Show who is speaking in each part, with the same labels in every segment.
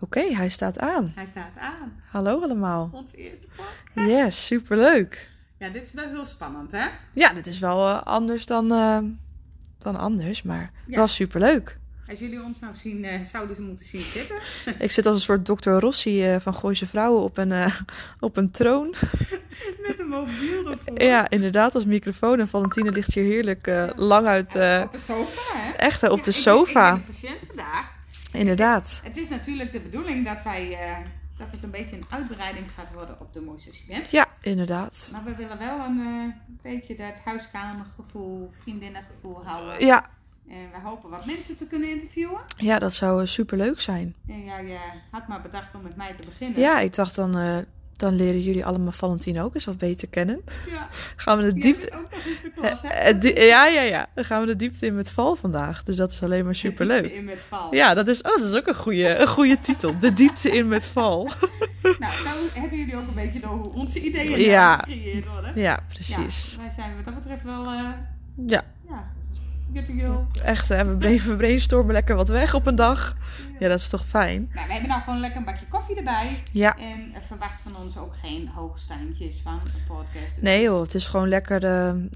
Speaker 1: Oké, hij staat aan.
Speaker 2: Hij staat aan.
Speaker 1: Hallo allemaal.
Speaker 2: Onze eerste podcast.
Speaker 1: Yes, superleuk.
Speaker 2: Ja, dit is wel heel spannend, hè?
Speaker 1: Ja, dit is wel eh, anders dan, eh, dan anders, maar
Speaker 2: Ja.
Speaker 1: wel superleuk.
Speaker 2: Als jullie ons nou zien, eh, zouden ze moeten zien zitten.
Speaker 1: Ik zit als een soort Dr. Rossi eh, van Gooise Vrouwen op een, eh, op een troon.
Speaker 2: Met een mobiel ervoor.
Speaker 1: Ja, inderdaad, als microfoon. En Valentine ligt hier heerlijk eh, lang uit, eh,
Speaker 2: Op een sofa, hè?
Speaker 1: echt eh, op de
Speaker 2: Ja, ik ben- Ik
Speaker 1: sofa.
Speaker 2: ben de patiënt vandaag.
Speaker 1: Inderdaad.
Speaker 2: Het is natuurlijk de bedoeling dat wij... eh, dat het een beetje een uitbreiding gaat worden op de mooiste student.
Speaker 1: Ja, inderdaad.
Speaker 2: Maar we willen wel een eh, beetje dat huiskamergevoel, vriendinnengevoel houden.
Speaker 1: Ja,
Speaker 2: En we hopen wat mensen te kunnen interviewen.
Speaker 1: ja dat zou eh, superleuk zijn.
Speaker 2: En ja, je had maar bedacht om met mij te beginnen.
Speaker 1: Ja, ik dacht dan, eh, dan leren jullie allemaal Valentine ook eens wat beter kennen.
Speaker 2: ja.
Speaker 1: Gaan we de
Speaker 2: Jij
Speaker 1: diepte...
Speaker 2: zit ook nog eens de klas, hè?
Speaker 1: Eh, die- ja, ja, ja. Dan gaan we de diepte in met val vandaag. Dus dat is alleen maar
Speaker 2: De diepte
Speaker 1: superleuk.
Speaker 2: in met val.
Speaker 1: Ja, dat is, oh, dat is ook een goede, een goede titel. De diepte in met val.
Speaker 2: Nou, zo hebben jullie ook een beetje door hoe onze ideeën nou
Speaker 1: Ja.
Speaker 2: gecreëerd worden.
Speaker 1: Ja,
Speaker 2: Ja,
Speaker 1: precies.
Speaker 2: wij zijn wat dat betreft wel, eh,
Speaker 1: Ja,
Speaker 2: ja, good to go.
Speaker 1: echt. Hè, we bra- we brainstormen lekker wat weg op een dag. Ja, dat is toch fijn?
Speaker 2: Nou, we hebben nou gewoon lekker een bakje koffie erbij.
Speaker 1: Ja.
Speaker 2: En eh, verwacht van ons ook geen hoogstandjes van een podcast. Het
Speaker 1: Nee
Speaker 2: is-
Speaker 1: joh, het is gewoon lekker de...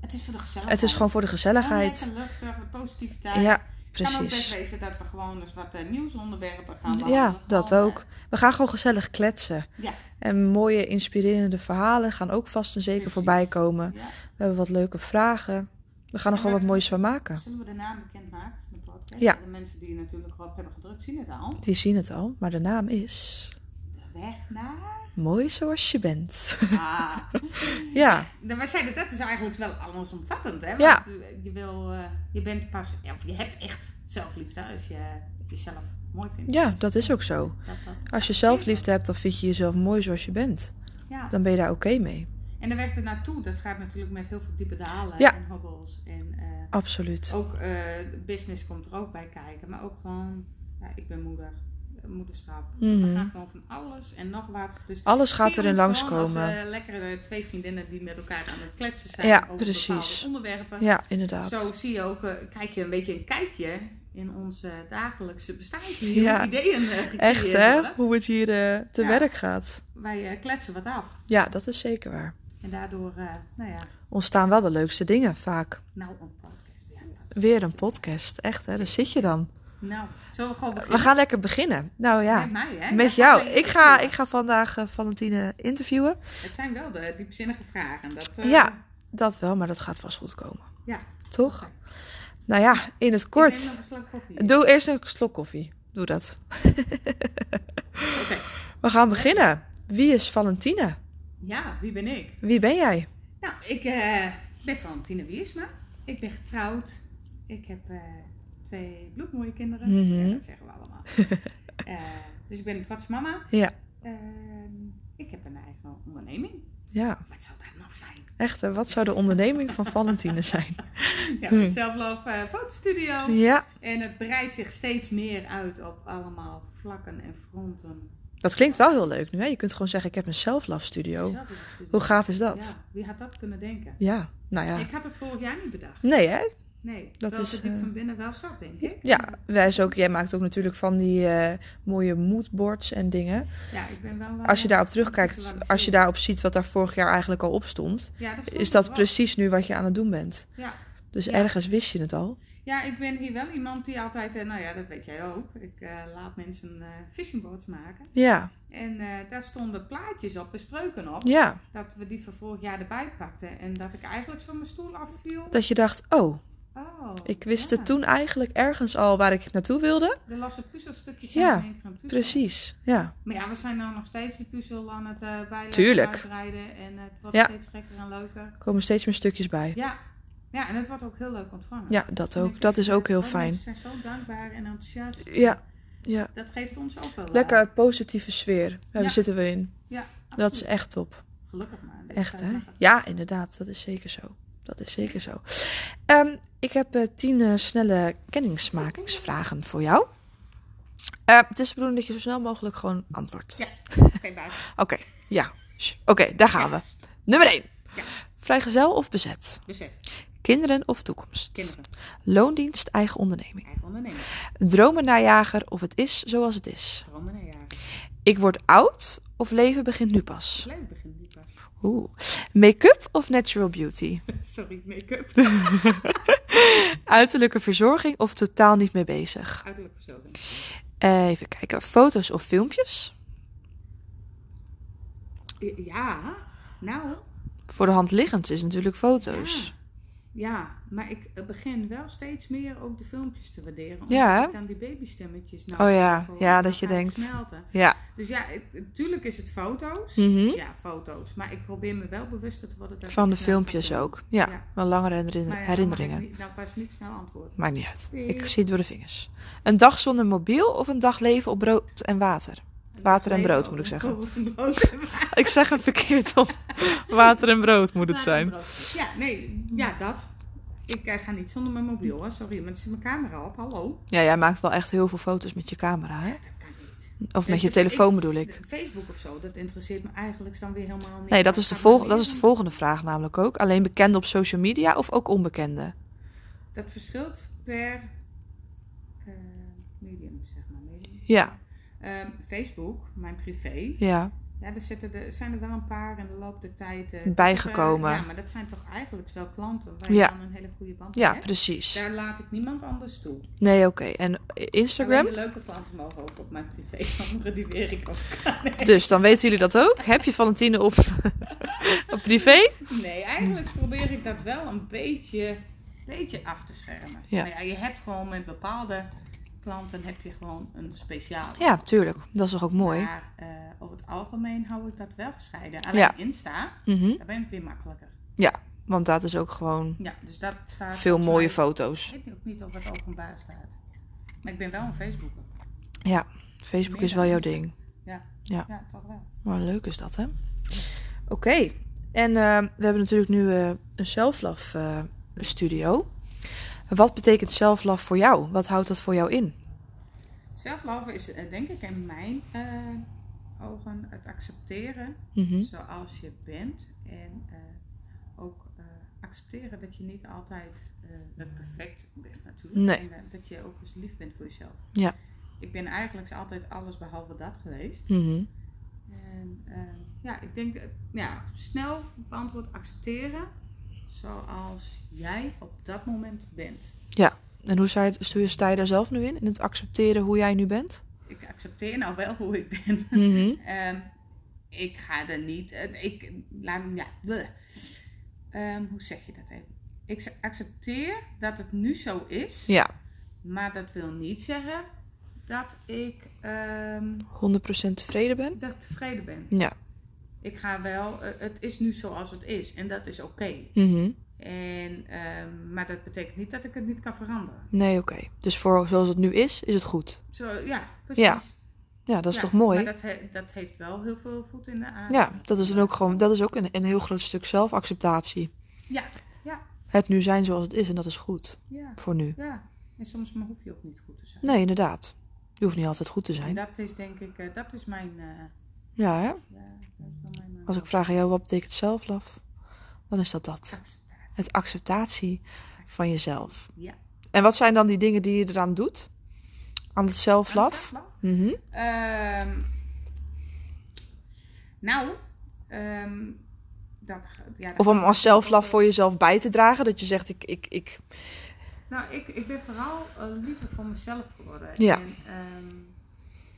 Speaker 2: Het is voor de gezelligheid.
Speaker 1: Het is gewoon voor de gezelligheid.
Speaker 2: Gewoon lekker luchtig, wat positiviteit.
Speaker 1: Ja,
Speaker 2: Het kan ook best
Speaker 1: precies.
Speaker 2: wezen dat we gewoon eens wat eh, nieuwsonderwerpen gaan behandelen.
Speaker 1: Ja, dat
Speaker 2: Gewoon, eh,
Speaker 1: ook. We gaan gewoon gezellig kletsen.
Speaker 2: Ja.
Speaker 1: En mooie, inspirerende verhalen gaan ook vast en zeker
Speaker 2: Precies.
Speaker 1: voorbij komen.
Speaker 2: eh, ja.
Speaker 1: We hebben wat leuke vragen. We gaan er gewoon wat moois van maken.
Speaker 2: Zullen we de naam bekendmaken van de podcast?
Speaker 1: Ja.
Speaker 2: De mensen die natuurlijk erop hebben gedrukt zien het al.
Speaker 1: Die zien het al, maar de naam is...
Speaker 2: De weg naar...
Speaker 1: Mooi zoals je bent.
Speaker 2: Ah.
Speaker 1: ja,
Speaker 2: Nou, wij zeiden dat is eigenlijk wel allesomvattend, hè? Want
Speaker 1: Ja.
Speaker 2: je, wil, eh, je bent pas, of je hebt echt zelfliefde als je jezelf mooi vindt. Dus
Speaker 1: ja, dat is ook zo.
Speaker 2: Dat, dat,
Speaker 1: Als je zelfliefde hebt, dan vind je jezelf mooi zoals je bent.
Speaker 2: ja.
Speaker 1: Dan ben je daar oké mee.
Speaker 2: En de weg ernaartoe, dat gaat natuurlijk met heel veel diepe dalen
Speaker 1: Ja.
Speaker 2: en hobbels. En eh,
Speaker 1: Absoluut.
Speaker 2: ook eh, business komt er ook bij kijken, maar ook gewoon, ja, ik ben moeder, eh, moederschap. We
Speaker 1: Mhm.
Speaker 2: gaan gewoon van alles en nog wat. Dus
Speaker 1: Alles gaat
Speaker 2: Zie
Speaker 1: erin
Speaker 2: ons gewoon
Speaker 1: langskomen.
Speaker 2: Als, eh, lekkere twee vriendinnen die met elkaar aan het kletsen zijn
Speaker 1: Ja,
Speaker 2: over
Speaker 1: precies.
Speaker 2: bepaalde onderwerpen.
Speaker 1: Ja,
Speaker 2: Zo
Speaker 1: inderdaad.
Speaker 2: zie je ook, eh, krijg je een beetje een kijkje in ons eh, dagelijkse bestaantje.
Speaker 1: Ja.
Speaker 2: Hoe ideeën eh, gecreëerd
Speaker 1: Echt hè,
Speaker 2: worden.
Speaker 1: hoe het hier eh, te
Speaker 2: Ja.
Speaker 1: werk gaat.
Speaker 2: Wij eh, kletsen wat af.
Speaker 1: Ja, dat is zeker waar.
Speaker 2: En daardoor, eh, nou ja,
Speaker 1: Ontstaan wel de leukste dingen vaak.
Speaker 2: nou een podcast. Ja, dat-
Speaker 1: Weer een podcast. Echt hè, daar zit je dan.
Speaker 2: Nou, zullen we gewoon
Speaker 1: We
Speaker 2: beginnen
Speaker 1: gaan lekker beginnen. Nou ja,
Speaker 2: met mij, hè?
Speaker 1: met
Speaker 2: Jij gaat
Speaker 1: jou.
Speaker 2: mij
Speaker 1: Ik ga,
Speaker 2: interviewen.
Speaker 1: ik ga vandaag eh, Valentine interviewen.
Speaker 2: Het zijn wel de diepzinnige vragen. Dat, eh,
Speaker 1: Ja, Dat wel, maar dat gaat vast goed komen.
Speaker 2: Ja.
Speaker 1: Toch? Nou ja, in het kort.
Speaker 2: Ik neem nog een slok koffie.
Speaker 1: Doe eerst een slok koffie. Doe dat.
Speaker 2: Oké.
Speaker 1: We gaan beginnen. Wie is Valentine?
Speaker 2: Ja, wie ben ik?
Speaker 1: Wie ben jij?
Speaker 2: Nou, ik eh, ben Valentine Wiersma. Ik ben getrouwd. Ik heb eh, twee bloedmooie kinderen.
Speaker 1: Mhm.
Speaker 2: Ja, dat zeggen we allemaal. Eh, dus ik ben een trotse mama.
Speaker 1: Ja.
Speaker 2: Ehm, ik heb een eigen onderneming. Oh,
Speaker 1: Ja,
Speaker 2: Wat zou dat nou zijn?
Speaker 1: echt. hè? Wat zou de onderneming van Valentine zijn?
Speaker 2: Ja,
Speaker 1: Hmm.
Speaker 2: een self-love eh, fotostudio.
Speaker 1: Ja,
Speaker 2: En het breidt zich steeds meer uit op allemaal vlakken en fronten.
Speaker 1: dat klinkt wel heel leuk nu. Hè? Je kunt gewoon zeggen, ik heb een self-love studio.
Speaker 2: Zelf-love studio.
Speaker 1: Oh. Hoe gaaf is dat?
Speaker 2: Ja, wie had dat kunnen denken?
Speaker 1: Ja, nou ja.
Speaker 2: Ik had het vorig jaar niet bedacht.
Speaker 1: Nee hè?
Speaker 2: Nee,
Speaker 1: Dat
Speaker 2: dat is
Speaker 1: is,
Speaker 2: het diep
Speaker 1: eh,
Speaker 2: van binnen wel zat, denk ik.
Speaker 1: Ja, wij is ook, jij maakt ook natuurlijk van die eh, mooie moodboards en dingen.
Speaker 2: Ja, ik ben wel... eh,
Speaker 1: Als je daarop
Speaker 2: dat is wel
Speaker 1: terugkijkt,
Speaker 2: een
Speaker 1: als je daarop ziet wat daar vorig jaar eigenlijk al op stond,
Speaker 2: Ja, dat stond
Speaker 1: is
Speaker 2: er
Speaker 1: dat
Speaker 2: wel.
Speaker 1: precies nu wat je aan het doen bent.
Speaker 2: Ja.
Speaker 1: Dus
Speaker 2: Ja.
Speaker 1: ergens wist je het al.
Speaker 2: ja, ik ben hier wel iemand die altijd, eh, nou ja, dat weet jij ook. Ik eh, laat mensen eh fishingboards maken.
Speaker 1: Ja,
Speaker 2: En eh, daar stonden plaatjes op, bespreuken op.
Speaker 1: ja.
Speaker 2: Dat we die van vorig jaar erbij pakten. En dat ik eigenlijk van mijn stoel afviel.
Speaker 1: Dat je dacht, oh,
Speaker 2: Oh,
Speaker 1: ik wist
Speaker 2: ja.
Speaker 1: het toen eigenlijk ergens al waar ik naartoe wilde.
Speaker 2: De losse puzzelstukjes
Speaker 1: Ja,
Speaker 2: zijn in één keer een puzzel.
Speaker 1: Precies, ja.
Speaker 2: Maar ja, we zijn nou nog steeds die puzzel aan het eh bijleggen,
Speaker 1: Tuurlijk.
Speaker 2: uitbreiden. En het wordt
Speaker 1: Ja.
Speaker 2: steeds gekker en leuker.
Speaker 1: Er komen steeds meer stukjes bij.
Speaker 2: Ja. ja, en het wordt ook heel leuk ontvangen.
Speaker 1: Ja, dat
Speaker 2: En ik
Speaker 1: ook. Dat
Speaker 2: vind
Speaker 1: is ook
Speaker 2: het-
Speaker 1: heel
Speaker 2: oh,
Speaker 1: fijn.
Speaker 2: Mensen zijn zo dankbaar en enthousiast.
Speaker 1: Ja, ja.
Speaker 2: Dat geeft ons ook wel... eh,
Speaker 1: Lekker positieve sfeer. Daar
Speaker 2: Ja.
Speaker 1: zitten we in.
Speaker 2: Ja,
Speaker 1: Dat
Speaker 2: absoluut.
Speaker 1: is echt top.
Speaker 2: Gelukkig maar. Dus
Speaker 1: Echt,
Speaker 2: dat
Speaker 1: hè?
Speaker 2: mag het.
Speaker 1: Ja, inderdaad. Dat is zeker zo. Dat is zeker zo. Ehm, ik heb eh, tien eh, snelle kennismakingsvragen voor jou. Eh, het is de bedoeling dat je zo snel mogelijk gewoon antwoordt.
Speaker 2: Ja, oké, baas.
Speaker 1: Oké, ja. Oké, daar gaan we. Nummer 1.
Speaker 2: Ja.
Speaker 1: Vrijgezel of bezet?
Speaker 2: Bezet.
Speaker 1: Kinderen of toekomst?
Speaker 2: Dus Kinderen,
Speaker 1: Loondienst, eigen onderneming.
Speaker 2: eigen onderneming,
Speaker 1: Dromen najager of het is zoals het is.
Speaker 2: dromen en jaren.
Speaker 1: Ik word oud of leven begint nu pas.
Speaker 2: Leuk begin die pas.
Speaker 1: Oeh. Make-up of natural beauty?
Speaker 2: Sorry, make-up.
Speaker 1: Uiterlijke verzorging of totaal niet mee bezig?
Speaker 2: Uiterlijk verzorging.
Speaker 1: Eh, even kijken. Foto's of filmpjes?
Speaker 2: Ja, nou.
Speaker 1: Voor de hand liggend is natuurlijk foto's.
Speaker 2: Ja. Ja, maar ik begin wel steeds meer ook de filmpjes te waarderen. Omdat
Speaker 1: Ja, hè?
Speaker 2: ik dan die babystemmetjes nou
Speaker 1: Oh ja,
Speaker 2: gewoon-
Speaker 1: ja,
Speaker 2: dan
Speaker 1: dat je
Speaker 2: gaat het
Speaker 1: denkt.
Speaker 2: Smelten.
Speaker 1: Ja.
Speaker 2: Dus ja, het- natuurlijk is het foto's.
Speaker 1: Mhm.
Speaker 2: Ja, foto's. Maar ik probeer me wel bewuster te worden. dat
Speaker 1: Van
Speaker 2: ik
Speaker 1: de
Speaker 2: snel
Speaker 1: filmpjes
Speaker 2: ga filmen.
Speaker 1: ook. Ja,
Speaker 2: Ja.
Speaker 1: wel langere
Speaker 2: Maar
Speaker 1: herinner-
Speaker 2: ja, Dan,
Speaker 1: herinneringen.
Speaker 2: mag ik niet- dan pas niet snel antwoorden.
Speaker 1: Maakt niet uit.
Speaker 2: Nee.
Speaker 1: Ik zie het door de vingers. Een dag zonder mobiel of een dag leven op brood en water? Water en
Speaker 2: oh,
Speaker 1: brood, moet ik zeggen. Ik zeg het verkeerd op. Water en brood moet
Speaker 2: Ja, nee, ja, dat. Ik eh, ga niet zonder mijn mobiel, hoor. Sorry, maar het zit mijn camera op. Hallo?
Speaker 1: Ja, jij maakt wel echt heel veel foto's met je camera, hè?
Speaker 2: Dat kan niet.
Speaker 1: Of
Speaker 2: Nee,
Speaker 1: met je
Speaker 2: ik-
Speaker 1: telefoon bedoel ik.
Speaker 2: Facebook of zo, dat interesseert me eigenlijk dan weer helemaal niet.
Speaker 1: Nee, dat is, de
Speaker 2: Gaat maar
Speaker 1: volg- dat
Speaker 2: weer
Speaker 1: is de
Speaker 2: om-
Speaker 1: volgende vraag namelijk ook. Alleen bekenden op social media of ook onbekenden?
Speaker 2: Dat verschilt per eh, medium, zeg maar. Medium.
Speaker 1: Ja,
Speaker 2: Ehm, Facebook, mijn privé.
Speaker 1: ja.
Speaker 2: Ja, er zitten er, zijn er wel een paar in de loop der tijd eh,
Speaker 1: Bijgekomen.
Speaker 2: eh, ja, maar dat zijn toch eigenlijk wel klanten waar je
Speaker 1: Ja.
Speaker 2: dan een hele goede band mee
Speaker 1: Ja,
Speaker 2: hebt.
Speaker 1: precies.
Speaker 2: Daar laat ik niemand anders toe.
Speaker 1: Nee, oké. En Instagram?
Speaker 2: Alleen de leuke klanten mogen ook op mijn privé. Anderen die weer ik ook.
Speaker 1: Dus dan weten jullie dat ook. Heb je Valentine op, op privé?
Speaker 2: Nee, eigenlijk probeer ik dat wel een beetje, beetje af te schermen.
Speaker 1: Ja.
Speaker 2: Maar ja, je hebt gewoon met bepaalde klanten heb je gewoon een speciaal.
Speaker 1: Ja, tuurlijk. Dat is toch ook mooi?
Speaker 2: Maar eh, over het algemeen hou ik dat wel gescheiden. Alleen
Speaker 1: Ja.
Speaker 2: Insta,
Speaker 1: Mhm.
Speaker 2: daar ben ik weer makkelijker.
Speaker 1: Want dat is ook gewoon
Speaker 2: Ja, dus dat staat...
Speaker 1: veel
Speaker 2: volgens
Speaker 1: mooie
Speaker 2: mij-
Speaker 1: foto's.
Speaker 2: Ik weet ook niet of het openbaar staat. Maar ik ben wel een Facebooker.
Speaker 1: Ja, Facebook is wel jouw ding.
Speaker 2: Ja, toch wel.
Speaker 1: Maar leuk is dat, hè? Oké. En eh, we hebben natuurlijk nu eh, een self-love eh, studio. Wat betekent self-love voor jou? Wat houdt dat voor jou in?
Speaker 2: Zelflove is eh, denk ik in mijn eh, ogen het accepteren
Speaker 1: Mhm.
Speaker 2: zoals je bent. En eh, ook eh, accepteren dat je niet altijd eh, het perfect bent natuurlijk.
Speaker 1: Nee.
Speaker 2: En eh, dat je ook eens lief bent voor jezelf.
Speaker 1: Ja.
Speaker 2: Ik ben eigenlijk altijd alles behalve dat geweest.
Speaker 1: Mhm.
Speaker 2: En eh, ja, ik denk eh, ja, snel beantwoord accepteren zoals jij op dat moment bent.
Speaker 1: En hoe sta je, sta je- sta je daar zelf nu in? In het accepteren hoe jij nu bent?
Speaker 2: Ik accepteer nou wel hoe ik ben.
Speaker 1: Mhm.
Speaker 2: Ehm, ik ga er niet. eh, ik laat ja. bleh. Ehm, hoe zeg je dat even? Ik z- accepteer dat het nu zo is,
Speaker 1: Ja,
Speaker 2: maar dat wil niet zeggen dat ik, ehm,
Speaker 1: 100% tevreden ben?
Speaker 2: dat ik tevreden ben.
Speaker 1: Ja.
Speaker 2: Ik ga wel, eh, het is nu zoals het is en dat is oké.
Speaker 1: Mhm.
Speaker 2: En, ehm, maar dat betekent niet dat ik het niet kan veranderen.
Speaker 1: Nee, oké. Dus voor zoals het nu is, is het goed.
Speaker 2: Zo, ja, precies.
Speaker 1: Ja, Ja, dat is
Speaker 2: Ja,
Speaker 1: toch mooi?
Speaker 2: Maar dat, he- dat heeft wel heel veel voet in de aarde.
Speaker 1: Ja, dat is dan ook gewoon, dat is ook een, een heel groot stuk zelfacceptatie.
Speaker 2: Ja,
Speaker 1: Het nu zijn zoals het is en dat is goed
Speaker 2: ja,
Speaker 1: voor nu.
Speaker 2: ja. En soms maar hoef je ook niet goed te zijn.
Speaker 1: Nee, inderdaad. Je hoeft niet altijd goed te
Speaker 2: En
Speaker 1: zijn.
Speaker 2: dat is denk ik, eh, dat is mijn. eh,
Speaker 1: Ja, hè?
Speaker 2: ja, dat is wel mijn eh,
Speaker 1: Als ik vraag aan jou wat betekent zelflaf, dan is dat dat.
Speaker 2: acceptatie.
Speaker 1: Het acceptatie van jezelf.
Speaker 2: Ja.
Speaker 1: En wat zijn dan die dingen die je eraan doet? Aan het zelflaf?
Speaker 2: Zelflove.
Speaker 1: Mhm.
Speaker 2: Ehm, nou, ehm, dat, ja, dat
Speaker 1: Of om
Speaker 2: gaat
Speaker 1: als zelflaf voor jezelf bij te dragen. Dat je zegt, ik, ik, ik.
Speaker 2: Nou, ik, ik ben vooral eh, liever voor mezelf geworden.
Speaker 1: Ja.
Speaker 2: En, ehm,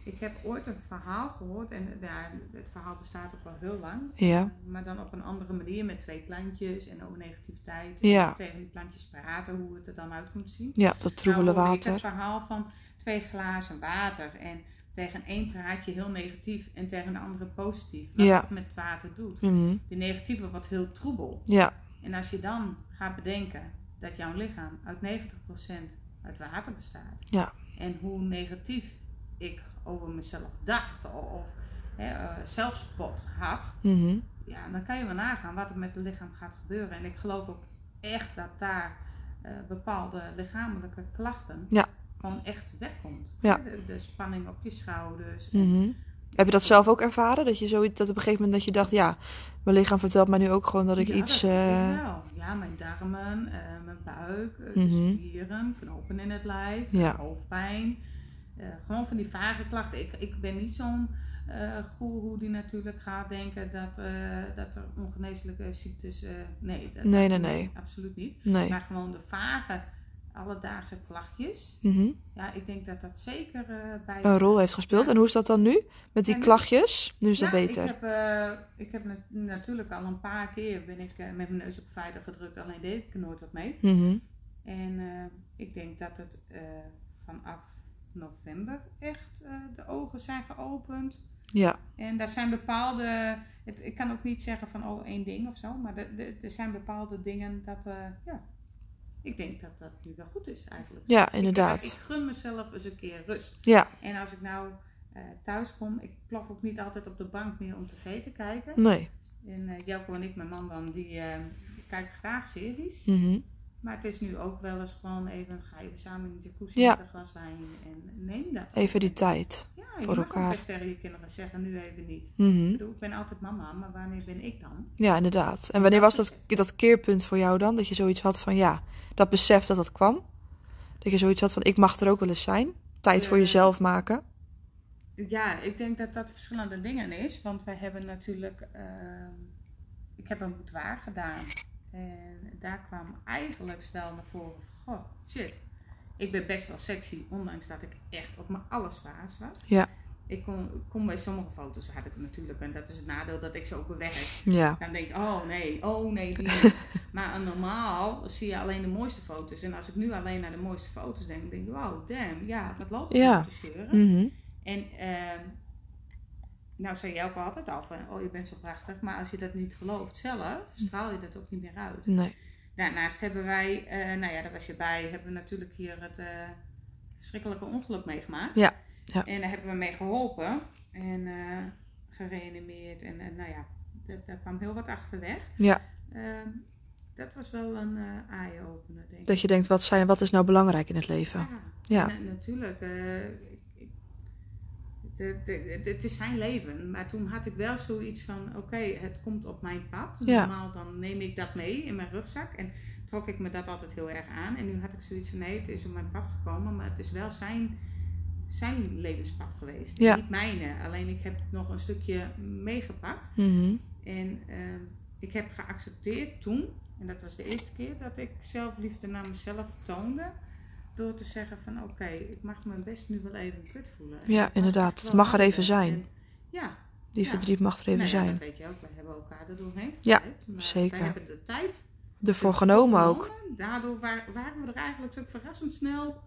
Speaker 2: ik heb ooit een verhaal gehoord, en eh, ja, het verhaal bestaat ook wel heel lang.
Speaker 1: Ja.
Speaker 2: Maar dan op een andere manier met twee plantjes en over negativiteit.
Speaker 1: Ja.
Speaker 2: En tegen die plantjes praten, hoe het er dan uit moet zien.
Speaker 1: Ja, dat troebele
Speaker 2: Nou, hoorde ik
Speaker 1: water.
Speaker 2: Het verhaal van twee glazen water. En tegen één praat je heel negatief en tegen de andere positief. Wat
Speaker 1: Ja.
Speaker 2: het met water doet.
Speaker 1: Mhm.
Speaker 2: Die negatieve wordt heel troebel.
Speaker 1: Ja,
Speaker 2: En als je dan gaat bedenken dat jouw lichaam uit 90% uit water bestaat.
Speaker 1: Ja.
Speaker 2: En hoe negatief ik over mezelf dacht of, of hè, eh, zelfspot had.
Speaker 1: Mhm.
Speaker 2: Ja, dan kan je wel nagaan wat er met het lichaam gaat gebeuren. En ik geloof ook echt dat daar eh, bepaalde lichamelijke klachten
Speaker 1: Ja.
Speaker 2: gewoon echt wegkomt.
Speaker 1: Ja.
Speaker 2: De, de spanning op je schouders. en
Speaker 1: Mhm. Heb je dat zelf ook ervaren? Dat je zoiets, dat op een gegeven moment dat je dacht, ja, mijn lichaam vertelt mij nu ook gewoon dat ik
Speaker 2: Ja,
Speaker 1: iets.
Speaker 2: dat
Speaker 1: eh,
Speaker 2: heb ik wel. Ja, mijn darmen, eh, mijn buik, eh,
Speaker 1: Mhm.
Speaker 2: de spieren, knopen in het lijf,
Speaker 1: Ja.
Speaker 2: hoofdpijn. Eh, gewoon van die vage klachten. Ik, ik ben niet zo'n eh goeroe die natuurlijk gaat denken dat, eh, dat er ongeneeslijke ziektes... eh, nee, dat,
Speaker 1: Nee,
Speaker 2: dat-
Speaker 1: nee, nee.
Speaker 2: Absoluut niet.
Speaker 1: nee.
Speaker 2: Maar gewoon de vage alledaagse klachtjes.
Speaker 1: Mhm.
Speaker 2: Ja, ik denk dat dat zeker eh, bij...
Speaker 1: Een rol heeft gespeeld. En hoe is dat dan nu? Met die
Speaker 2: Ja, nu-
Speaker 1: klachtjes? Nu is dat
Speaker 2: Ja,
Speaker 1: beter.
Speaker 2: Ik heb, eh, ik heb nat- natuurlijk al een paar keer ben ik eh, met mijn neus op feiten gedrukt, alleen deed ik er nooit wat mee.
Speaker 1: Mhm.
Speaker 2: En eh, ik denk dat het eh, vanaf november echt eh, de ogen zijn geopend.
Speaker 1: Ja.
Speaker 2: En daar zijn bepaalde, het, ik kan ook niet zeggen van oh één ding of zo, maar er- er- er zijn bepaalde dingen dat, eh, ja, ik denk dat dat nu wel goed is eigenlijk.
Speaker 1: ja,
Speaker 2: Ik, ik
Speaker 1: inderdaad.
Speaker 2: gun mezelf eens een keer rust.
Speaker 1: Ja,
Speaker 2: En als ik nou eh, thuis kom, ik plaf ook niet altijd op de bank meer om tv te kijken.
Speaker 1: nee.
Speaker 2: En eh, Jelko en ik, mijn man dan, die eh, kijken graag series.
Speaker 1: Mhm.
Speaker 2: Maar het is nu ook wel eens gewoon even, ga je samen in de jacuzzi
Speaker 1: Ja.
Speaker 2: met een glas wijn en neem dat.
Speaker 1: Even die tijd.
Speaker 2: Ja, je
Speaker 1: voor
Speaker 2: mag
Speaker 1: elkaar.
Speaker 2: ook best tegen je kinderen zeggen, nu even niet. Ik
Speaker 1: Mhm.
Speaker 2: bedoel, ik ben altijd mama, maar wanneer ben ik dan?
Speaker 1: Ja, inderdaad. En wanneer was dat, dat keerpunt voor jou dan? Dat je zoiets had van, ja, dat besef dat dat kwam? Dat je zoiets had van, ik mag er ook wel eens zijn. Tijd voor
Speaker 2: Eh.
Speaker 1: jezelf maken.
Speaker 2: Ja, ik denk dat dat verschillende dingen is. Want wij hebben natuurlijk. ehm, ik heb een boudoir gedaan. En daar kwam eigenlijk wel naar voren. van, Goh, shit. Ik ben best wel sexy, ondanks dat ik echt op mijn allerzwaarst was.
Speaker 1: Ja.
Speaker 2: Ik kon, ik kon bij sommige foto's had ik natuurlijk, en dat is het nadeel dat ik ze ook bewerk.
Speaker 1: Ja.
Speaker 2: Dan denk ik, oh nee, oh nee, die niet. Maar normaal zie je alleen de mooiste foto's. En als ik nu alleen naar de mooiste foto's denk, dan denk ik, wow, damn, ja, wat loopt er
Speaker 1: Ja.
Speaker 2: te zeuren.
Speaker 1: Mhm.
Speaker 2: En ehm, nou zei jij ook altijd al van, oh je bent zo prachtig. Maar als je dat niet gelooft zelf, straal je dat ook niet meer uit.
Speaker 1: Nee.
Speaker 2: Daarnaast hebben wij, eh, nou ja, daar was je bij, hebben we natuurlijk hier het eh, verschrikkelijke ongeluk meegemaakt.
Speaker 1: Ja, ja.
Speaker 2: En daar hebben we mee geholpen en eh gereanimeerd. En eh, nou ja, dat, daar kwam heel wat achter weg.
Speaker 1: Ja.
Speaker 2: Ehm, dat was wel een eh, eye-opener, denk ik.
Speaker 1: Dat je denkt, wat, zijn, wat is nou belangrijk in het leven? Ja.
Speaker 2: Na- natuurlijk. eh, ik- ik- het, het- het- het is zijn leven. Maar toen had ik wel zoiets van: oké, het komt op mijn pad.
Speaker 1: Ja.
Speaker 2: Normaal dan neem ik dat mee in mijn rugzak. En trok ik me dat altijd heel erg aan. En nu had ik zoiets van: nee, het is op mijn pad gekomen. Maar het is wel zijn, zijn levenspad geweest.
Speaker 1: Ja.
Speaker 2: Niet mijne. Alleen ik heb nog een stukje meegepakt.
Speaker 1: Mhm.
Speaker 2: En ehm, ik heb geaccepteerd toen, en dat was de eerste keer dat ik zelfliefde naar mezelf toonde, door te zeggen van oké, ik mag me best nu wel even kut voelen. En
Speaker 1: Ja,
Speaker 2: dat mag
Speaker 1: inderdaad.
Speaker 2: echt
Speaker 1: Het
Speaker 2: wel
Speaker 1: mag er
Speaker 2: lukken.
Speaker 1: even zijn.
Speaker 2: En ja,
Speaker 1: Die
Speaker 2: Ja.
Speaker 1: verdriet mag er even
Speaker 2: nou ja,
Speaker 1: zijn.
Speaker 2: dat weet je ook, we hebben elkaar er doorheen
Speaker 1: Ja,
Speaker 2: gesleept, maar
Speaker 1: zeker.
Speaker 2: We hebben de tijd
Speaker 1: Ervoor genomen
Speaker 2: ervoor
Speaker 1: ook.
Speaker 2: genomen. Daardoor wa- waren we er eigenlijk zo verrassend snel,